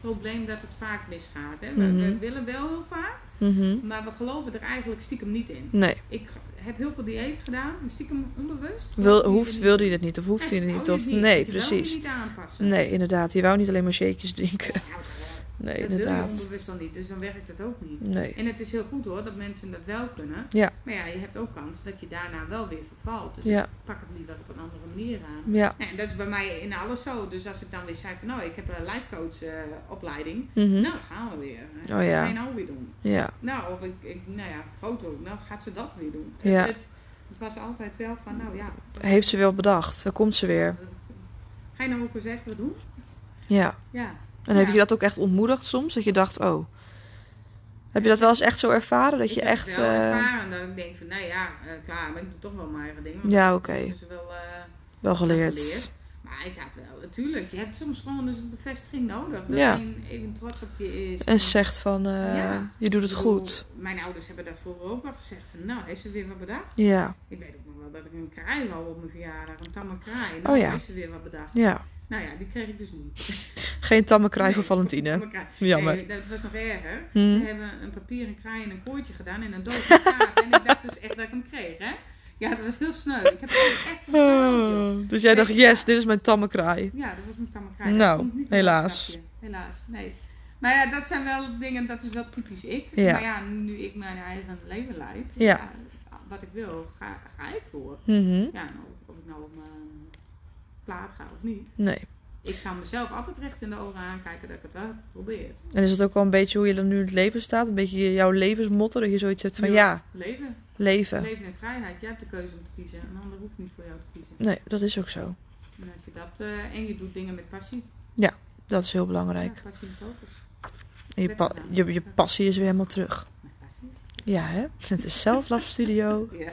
Speaker 2: probleem dat het vaak misgaat. Hè? We, we
Speaker 1: Mhm.
Speaker 2: willen wel heel vaak,
Speaker 1: Mhm.
Speaker 2: maar we geloven er eigenlijk stiekem niet in.
Speaker 1: Nee.
Speaker 2: Ik g- heb heel veel dieet gedaan, maar stiekem onbewust.
Speaker 1: Wil,
Speaker 2: hoefde
Speaker 1: hoeft, wilde je dat niet of hoeft hij het niet? Of, nee,
Speaker 2: oh, Je
Speaker 1: precies.
Speaker 2: niet aanpassen.
Speaker 1: Nee, inderdaad. Je wou niet alleen maar shakejes drinken.
Speaker 2: Ja, dat-
Speaker 1: Nee,
Speaker 2: dat wil je
Speaker 1: inderdaad.
Speaker 2: onbewust dan niet, dus dan werkt het ook niet.
Speaker 1: Nee.
Speaker 2: En het is heel goed hoor, dat mensen dat wel kunnen.
Speaker 1: Ja.
Speaker 2: Maar ja, je hebt ook kans dat je daarna wel weer vervalt. Dus
Speaker 1: Ja.
Speaker 2: ik pak het liever op een andere manier aan.
Speaker 1: Ja.
Speaker 2: Nou, en dat is bij mij in alles zo. Dus als ik dan weer zei van nou, ik heb een lifecoach eh, opleiding.
Speaker 1: Mhm.
Speaker 2: Nou, dan gaan we weer. Oh,
Speaker 1: Oh ja.
Speaker 2: Ga je nou weer doen?
Speaker 1: Ja.
Speaker 2: Nou, of ik, ik, nou ja, foto. Nou, gaat ze dat weer doen?
Speaker 1: Ja.
Speaker 2: Het, het was altijd wel van nou ja,
Speaker 1: Heeft ze wel bedacht. Daar komt ze weer.
Speaker 2: ga je nou ook eens echt wat doen?
Speaker 1: Ja.
Speaker 2: Ja.
Speaker 1: En heb
Speaker 2: Ja.
Speaker 1: je dat ook echt ontmoedigd soms? Dat je dacht, oh. Heb je dat wel eens echt zo ervaren? Dat
Speaker 2: ik
Speaker 1: je
Speaker 2: heb
Speaker 1: echt.
Speaker 2: het wel
Speaker 1: eh,
Speaker 2: ervaren dat ik denk van nou ja, eh, klaar, maar ik doe toch wel mijn eigen ding. want
Speaker 1: Ja,
Speaker 2: dat
Speaker 1: oké.
Speaker 2: is dus wel... eh,
Speaker 1: wel geleerd.
Speaker 2: geleerd. Maar ik had wel, natuurlijk, je hebt soms gewoon dus een bevestiging nodig. Dat
Speaker 1: Ja.
Speaker 2: iedereen even trots op je is.
Speaker 1: En zegt van, eh,
Speaker 2: Ja.
Speaker 1: je doet het
Speaker 2: Ik bedoel,
Speaker 1: goed.
Speaker 2: Mijn ouders hebben dat vroeger ook wel gezegd. Van, nou, heeft ze weer wat bedacht?
Speaker 1: Ja.
Speaker 2: Ik weet ook nog wel dat ik een kraai wou op mijn verjaardag. Een tamme kraai.
Speaker 1: Oh
Speaker 2: Nou,
Speaker 1: ja.
Speaker 2: heeft ze weer wat bedacht?
Speaker 1: Ja.
Speaker 2: Nou ja, die kreeg ik dus niet.
Speaker 1: Geen tamme kraai voor
Speaker 2: Nee,
Speaker 1: Valentine.
Speaker 2: tamme kraai.
Speaker 1: Jammer.
Speaker 2: Nee, dat was nog erger.
Speaker 1: Hm.
Speaker 2: Ze hebben een papieren kraai in een koortje gedaan en een dood kaart. en ik dacht dus echt dat ik hem kreeg, hè? Ja, dat was heel sneu. Ik heb het echt gehuild, joh.
Speaker 1: Oh, dus jij dacht, yes, dit is mijn tamme kraai.
Speaker 2: Ja, dat was mijn tamakai.
Speaker 1: Nou,
Speaker 2: Dat vond ik niet een
Speaker 1: helaas.
Speaker 2: leuk grapje. Helaas, nee. Maar ja, dat zijn wel dingen, dat is wel typisch ik.
Speaker 1: Ja.
Speaker 2: Maar ja, nu ik mijn eigen leven leid,
Speaker 1: Ja.
Speaker 2: wat ik wil, ga, ga ik voor.
Speaker 1: Mhm.
Speaker 2: Ja, nou, of ik nou op mijn plaat ga of niet.
Speaker 1: Nee.
Speaker 2: Ik ga mezelf altijd recht in de ogen aankijken dat ik het wel heb geprobeerd.
Speaker 1: En is het ook wel een beetje hoe je er nu in het leven staat? Een beetje jouw levensmotto? Dat je zoiets hebt van,
Speaker 2: Ja.
Speaker 1: ja,
Speaker 2: Leven.
Speaker 1: leven.
Speaker 2: Leven en vrijheid. Jij hebt de keuze om te kiezen. Een ander hoeft niet voor jou te kiezen.
Speaker 1: Nee, dat is ook zo.
Speaker 2: En als je dat... eh, en je doet dingen met passie.
Speaker 1: Dat is heel
Speaker 2: Ja,
Speaker 1: belangrijk.
Speaker 2: passie en focus.
Speaker 1: En je, pa- je, je passie is weer helemaal terug.
Speaker 2: Mijn passie is het.
Speaker 1: Ja, hè? Het is Self-Love Studio.
Speaker 2: Ja.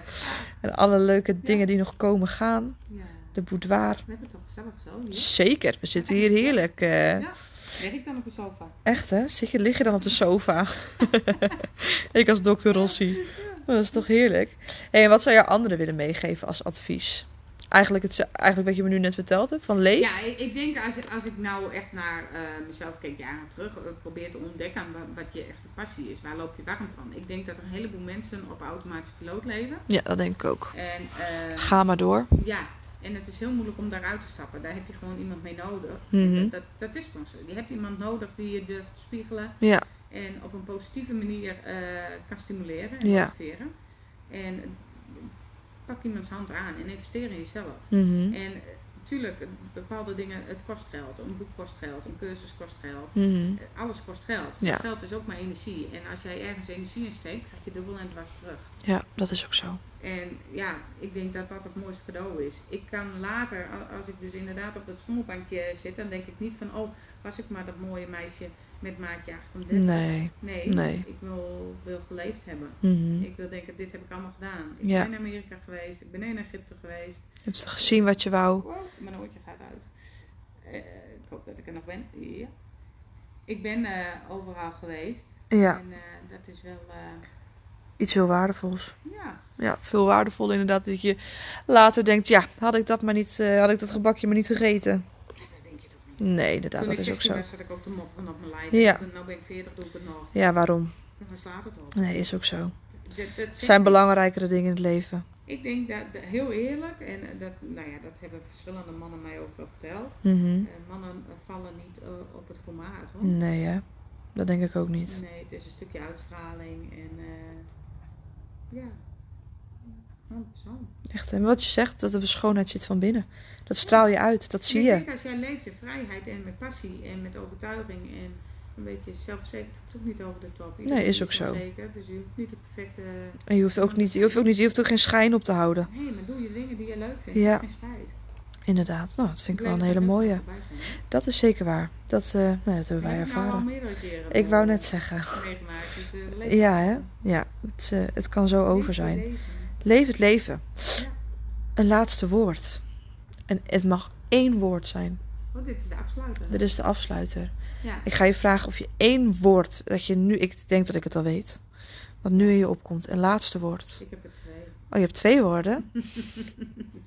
Speaker 1: En alle leuke dingen die nog komen gaan.
Speaker 2: ja.
Speaker 1: De boudoir.
Speaker 2: We hebben het toch gezellig zo hier.
Speaker 1: Zeker, we zitten hier heerlijk. eh.
Speaker 2: Ja. Lig ik dan op een sofa?
Speaker 1: Echt hè? Zit je, lig je dan op de sofa? ik als dokter Rossi. Dat is toch heerlijk. Hey, en wat zou je anderen willen meegeven als advies? Eigenlijk, het, eigenlijk wat je me nu net verteld hebt, van leef.
Speaker 2: Ja, ik, ik denk als, ik- als ik nou echt naar eh, mezelf kijk jaren terug, eh, probeer te ontdekken aan wat, wat je echte passie is. Waar loop je warm van? Ik denk dat er een heleboel mensen op automatische piloot leven.
Speaker 1: Ja, dat denk ik ook.
Speaker 2: En, eh,
Speaker 1: Ga maar door.
Speaker 2: ja, en het is heel moeilijk om daaruit te stappen. Daar heb je gewoon iemand mee nodig.
Speaker 1: Mhm.
Speaker 2: Dat, dat is gewoon zo. Je hebt iemand nodig die je durft te spiegelen
Speaker 1: Ja,
Speaker 2: en op een positieve manier eh, kan stimuleren en
Speaker 1: Ja.
Speaker 2: motiveren. En eh, pak iemands hand aan en investeer in jezelf.
Speaker 1: mhm.
Speaker 2: En eh, natuurlijk, eh, bepaalde dingen, het kost geld. Een boek kost geld, een cursus kost geld.
Speaker 1: Mhm.
Speaker 2: Eh, Alles kost geld.
Speaker 1: Ja.
Speaker 2: Geld is ook maar energie. En als jij ergens energie in steekt, krijg je dubbel en dwars terug.
Speaker 1: ja, dat is ook zo.
Speaker 2: En ja, ik denk dat dat het mooiste cadeau is. Ik kan later, a- als ik dus inderdaad op dat schommelbankje zit, dan denk ik niet van, oh, was ik maar dat mooie meisje met maatje 38.
Speaker 1: Nee.
Speaker 2: Nee,
Speaker 1: Nee.
Speaker 2: ik wil, wil geleefd hebben.
Speaker 1: Mhm.
Speaker 2: Ik wil denken, dit heb ik allemaal gedaan. Ik
Speaker 1: Ja.
Speaker 2: ben in Amerika geweest, ik ben in Egypte geweest.
Speaker 1: Je hebt gezien wat je wou.
Speaker 2: Wow, mijn oortje gaat uit. Eh, ik hoop dat ik er nog ben. Ja. Ik ben eh, overal geweest.
Speaker 1: Ja,
Speaker 2: En eh, dat is wel, eh,
Speaker 1: iets heel waardevols.
Speaker 2: ja.
Speaker 1: Ja, veel waardevoller inderdaad. Dat je later denkt, ja, had ik dat, maar niet, eh, had ik dat gebakje maar niet gegeten.
Speaker 2: ja, dat denk je toch niet.
Speaker 1: Nee, inderdaad,
Speaker 2: Toen
Speaker 1: dat
Speaker 2: ik
Speaker 1: is ook
Speaker 2: 16
Speaker 1: zo.
Speaker 2: was, zat ik ook te moppen op mijn lijf.
Speaker 1: Ja.
Speaker 2: Nu ben ik 40, doe ik het nog.
Speaker 1: Ja, waarom?
Speaker 2: En waar slaat het op?
Speaker 1: Nee, is ook zo.
Speaker 2: Dat, dat
Speaker 1: Er zijn
Speaker 2: zegt-
Speaker 1: belangrijkere dingen in het leven.
Speaker 2: Ik denk dat, dat- heel eerlijk, en eh, dat, nou ja, dat hebben verschillende mannen mij ook wel verteld.
Speaker 1: Mhm.
Speaker 2: Eh, mannen eh, vallen niet eh, op het formaat hoor.
Speaker 1: Nee, hè? Dat denk ik ook niet.
Speaker 2: Nee, het is een stukje uitstraling en eh ja. Oh, zo.
Speaker 1: Echt, en wat je zegt, dat er een schoonheid zit van binnen. Dat straal je uit, dat zie
Speaker 2: ik
Speaker 1: je.
Speaker 2: denk als jij leeft in vrijheid en met passie en met overtuiging en een beetje zelfverzekerd, het hoeft ook niet over de top. Iedereen
Speaker 1: Nee, is ook zo.
Speaker 2: Zeker, dus je hoeft niet de perfecte.
Speaker 1: En je hoeft ook niet, je hoeft ook niet, je hoeft ook geen schijn op te houden.
Speaker 2: Nee, maar doe je dingen die je leuk vindt.
Speaker 1: Ja.
Speaker 2: Geen spijt.
Speaker 1: Inderdaad, nou, dat vind ik wel
Speaker 2: Blij
Speaker 1: een
Speaker 2: dat
Speaker 1: hele
Speaker 2: we mensen
Speaker 1: mooie.
Speaker 2: erbij zijn, hè?
Speaker 1: Dat is zeker waar. Dat, eh, nou, dat hebben wij
Speaker 2: Ja, ik heb nou al
Speaker 1: ervaren.
Speaker 2: meerdere keren
Speaker 1: Ik wou
Speaker 2: eh,
Speaker 1: net zeggen.
Speaker 2: meegemaakt, dus, eh, leef
Speaker 1: Ja,
Speaker 2: het.
Speaker 1: hè? Ja, het, eh, het kan zo over
Speaker 2: Leef
Speaker 1: zijn.
Speaker 2: je leven.
Speaker 1: Leef het leven.
Speaker 2: Ja.
Speaker 1: Een laatste woord. En het mag één woord zijn.
Speaker 2: Oh, dit is de afsluiter.
Speaker 1: Dit is de afsluiter.
Speaker 2: Ja.
Speaker 1: Ik ga je vragen of je één woord dat je nu, ik denk dat ik het al weet, wat nu in je opkomt. Een laatste woord.
Speaker 2: Ik heb er twee.
Speaker 1: Oh, je hebt twee woorden.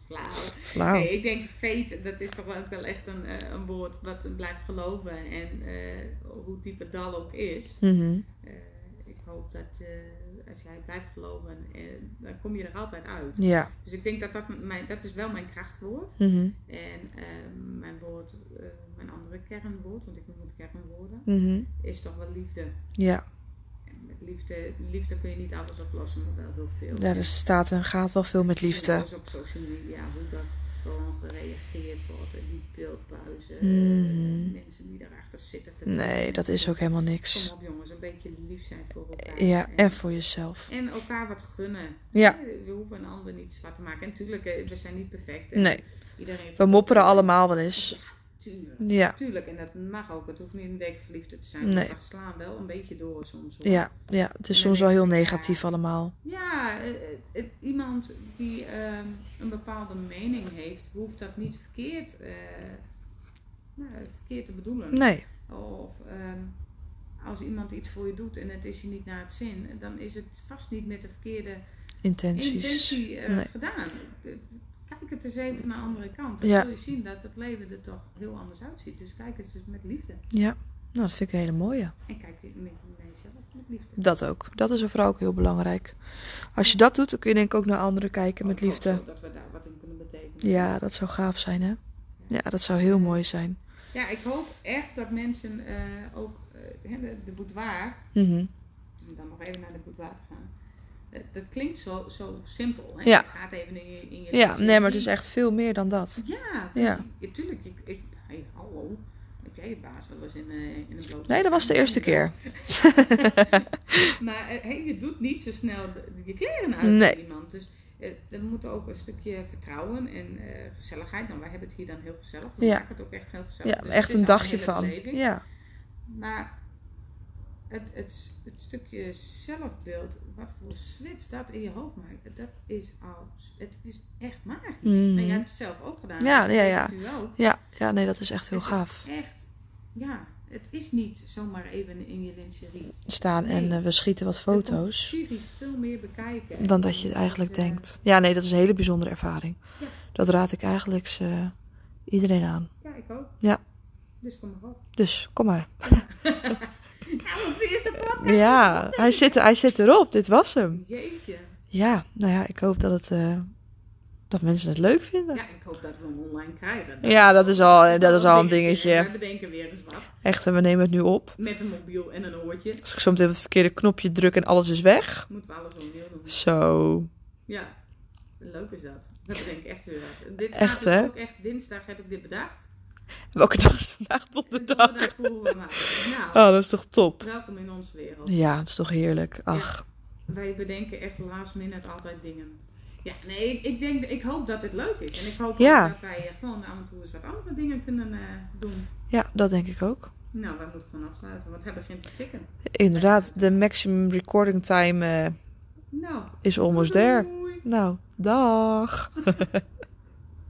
Speaker 2: Flauw.
Speaker 1: Flauw.
Speaker 2: Nee, ik denk fate, dat is toch wel ook wel echt een, eh, een woord wat blijft geloven. En eh, hoe diep het dal ook is.
Speaker 1: Mhm.
Speaker 2: eh, ik hoop dat eh, als jij blijft geloven, eh, dan kom je er altijd uit.
Speaker 1: Ja.
Speaker 2: Dus ik denk dat dat, mijn, dat is wel mijn krachtwoord.
Speaker 1: Mhm.
Speaker 2: En eh, mijn, woord, eh, mijn andere kernwoord, want ik noem het kernwoorden,
Speaker 1: Mhm.
Speaker 2: is toch wel liefde.
Speaker 1: Ja,
Speaker 2: En met liefde, liefde kun je niet alles oplossen, maar wel heel veel.
Speaker 1: daar is- staat en gaat wel veel met liefde.
Speaker 2: Dus op social media, hoe dat gewoon gereageerd wordt. En die beeldbuizen, eh,
Speaker 1: Mhm.
Speaker 2: mensen die daarachter zitten. te
Speaker 1: Nee,
Speaker 2: kijken.
Speaker 1: dat is ook helemaal niks.
Speaker 2: Kom op jongens, een beetje lief zijn voor elkaar.
Speaker 1: Ja,
Speaker 2: en,
Speaker 1: en voor jezelf.
Speaker 2: en elkaar wat gunnen.
Speaker 1: Ja.
Speaker 2: We hoeven een ander niet zwart te maken. En tuurlijk, eh, we zijn niet perfect. En
Speaker 1: Nee,
Speaker 2: Iedereen heeft-
Speaker 1: we mopperen allemaal wel eens.
Speaker 2: Tuurlijk.
Speaker 1: Ja,
Speaker 2: Tuurlijk, en dat mag ook. Het hoeft niet een deken verliefd te zijn.
Speaker 1: Nee.
Speaker 2: Maar we slaan wel een beetje door soms. hoor.
Speaker 1: ja, ja. Het is soms wel heel negatief allemaal.
Speaker 2: Ja, eh, het- het- iemand die ehm, een bepaalde mening heeft, hoeft dat niet verkeerd, eh, nou, verkeerd te bedoelen.
Speaker 1: Nee,
Speaker 2: Of ehm, als iemand iets voor je doet en het is je niet naar het zin, dan is het vast niet met de verkeerde
Speaker 1: intenties.
Speaker 2: intentie eh,
Speaker 1: Nee.
Speaker 2: gedaan. Kijk het eens even naar de andere kant. Dan
Speaker 1: Ja.
Speaker 2: zul je zien dat het leven er toch heel anders uitziet. Dus kijk het eens met liefde.
Speaker 1: Ja, nou, dat vind ik een hele mooie.
Speaker 2: En kijk met naar jezelf met liefde.
Speaker 1: Dat ook. Dat is vooral ook heel belangrijk. Als je dat doet, dan kun je denk ik ook naar anderen kijken met
Speaker 2: Ik hoop
Speaker 1: liefde.
Speaker 2: zo Oh, Dat we daar wat in kunnen betekenen.
Speaker 1: Ja, dat zou gaaf zijn, hè? Ja, dat zou heel mooi zijn.
Speaker 2: Ja, ik hoop echt dat mensen eh, ook eh, hè, de, de boudoir,
Speaker 1: Mhm.
Speaker 2: om dan nog even naar de boudoir te gaan. eh, dat klinkt zo, zo simpel. Hè?
Speaker 1: Ja.
Speaker 2: Je gaat even in je, in je
Speaker 1: Ja, nee, maar het is echt veel meer dan dat.
Speaker 2: Ja,
Speaker 1: Ja.
Speaker 2: natuurlijk. Ik, ik, hey, hallo. Heb jij je baas wel eens in, eh, in een blote
Speaker 1: Nee, dat was de eerste keer.
Speaker 2: Maar eh, hey, je doet niet zo snel de- je kleren uit
Speaker 1: Nee.
Speaker 2: aan iemand. Dus eh, er moet ook een stukje vertrouwen en eh, gezelligheid. Nou, wij hebben het hier dan heel gezellig. We
Speaker 1: Ja.
Speaker 2: maken het ook echt heel gezellig.
Speaker 1: Ja,
Speaker 2: Dus
Speaker 1: echt
Speaker 2: het is
Speaker 1: een
Speaker 2: al
Speaker 1: dagje
Speaker 2: hele
Speaker 1: van.
Speaker 2: beleving.
Speaker 1: Ja,
Speaker 2: Maar het, het, het stukje zelfbeeld, wat voor switch dat in je hoofd maakt, dat is al, het is echt magisch.
Speaker 1: Mhm.
Speaker 2: En jij hebt het zelf ook gedaan.
Speaker 1: Ja,
Speaker 2: dat
Speaker 1: ja,
Speaker 2: weet
Speaker 1: ja.
Speaker 2: ik Nu ook.
Speaker 1: ja, ja nee, dat is echt heel
Speaker 2: Het is
Speaker 1: gaaf.
Speaker 2: echt, ja, het is niet zomaar even in je lingerie.
Speaker 1: staan en
Speaker 2: Nee.
Speaker 1: eh, we schieten wat
Speaker 2: Er komt
Speaker 1: foto's.
Speaker 2: Series veel meer bekijken.
Speaker 1: Dan dat je het
Speaker 2: Dus,
Speaker 1: eigenlijk
Speaker 2: eh,
Speaker 1: denkt. Ja, nee, dat is een hele bijzondere ervaring.
Speaker 2: Ja.
Speaker 1: Dat raad ik eigenlijk eh, iedereen aan.
Speaker 2: Ja, ik ook.
Speaker 1: Ja.
Speaker 2: Dus kom maar op.
Speaker 1: Dus kom maar.
Speaker 2: Ja, want ze is de podcast.
Speaker 1: Ja, hij zit, hij zit erop. Dit was hem.
Speaker 2: Jeetje.
Speaker 1: Ja, nou ja, ik hoop dat, het, eh, dat mensen het leuk vinden.
Speaker 2: Ja, ik hoop dat we hem online krijgen.
Speaker 1: Ja, dat is al, eh, dat is al een
Speaker 2: We
Speaker 1: dingetje.
Speaker 2: bedenken weer eens wat.
Speaker 1: Echt, en we nemen het nu op.
Speaker 2: Met een mobiel en een oortje.
Speaker 1: Als ik zo meteen op het verkeerde knopje druk en alles is weg.
Speaker 2: Moeten we alles opnieuw doen.
Speaker 1: Zo.
Speaker 2: Ja, leuk is dat. Dat bedenk ik echt weer wat. Dit
Speaker 1: Echt,
Speaker 2: gaat dus
Speaker 1: hè?
Speaker 2: ook echt dinsdag heb ik dit bedacht.
Speaker 1: Welke dag is vandaag? Donderdag.
Speaker 2: Donderdag voelen we maar. Nou,
Speaker 1: Oh, dat is toch top.
Speaker 2: welkom in onze wereld.
Speaker 1: Ja, dat is toch heerlijk. Ach,
Speaker 2: Wij bedenken echt last minute altijd dingen. Ja, nee, ik, ik, denk, ik hoop dat het leuk is. En ik hoop ook
Speaker 1: Ja.
Speaker 2: dat wij eh, gewoon af en toe eens wat andere dingen kunnen eh, doen.
Speaker 1: ja, dat denk ik ook.
Speaker 2: Nou, wij moeten gewoon afsluiten, want hij begint te tikken.
Speaker 1: Inderdaad, de maximum recording time eh,
Speaker 2: Nou,
Speaker 1: is almost there.
Speaker 2: doei.
Speaker 1: Nou, dag.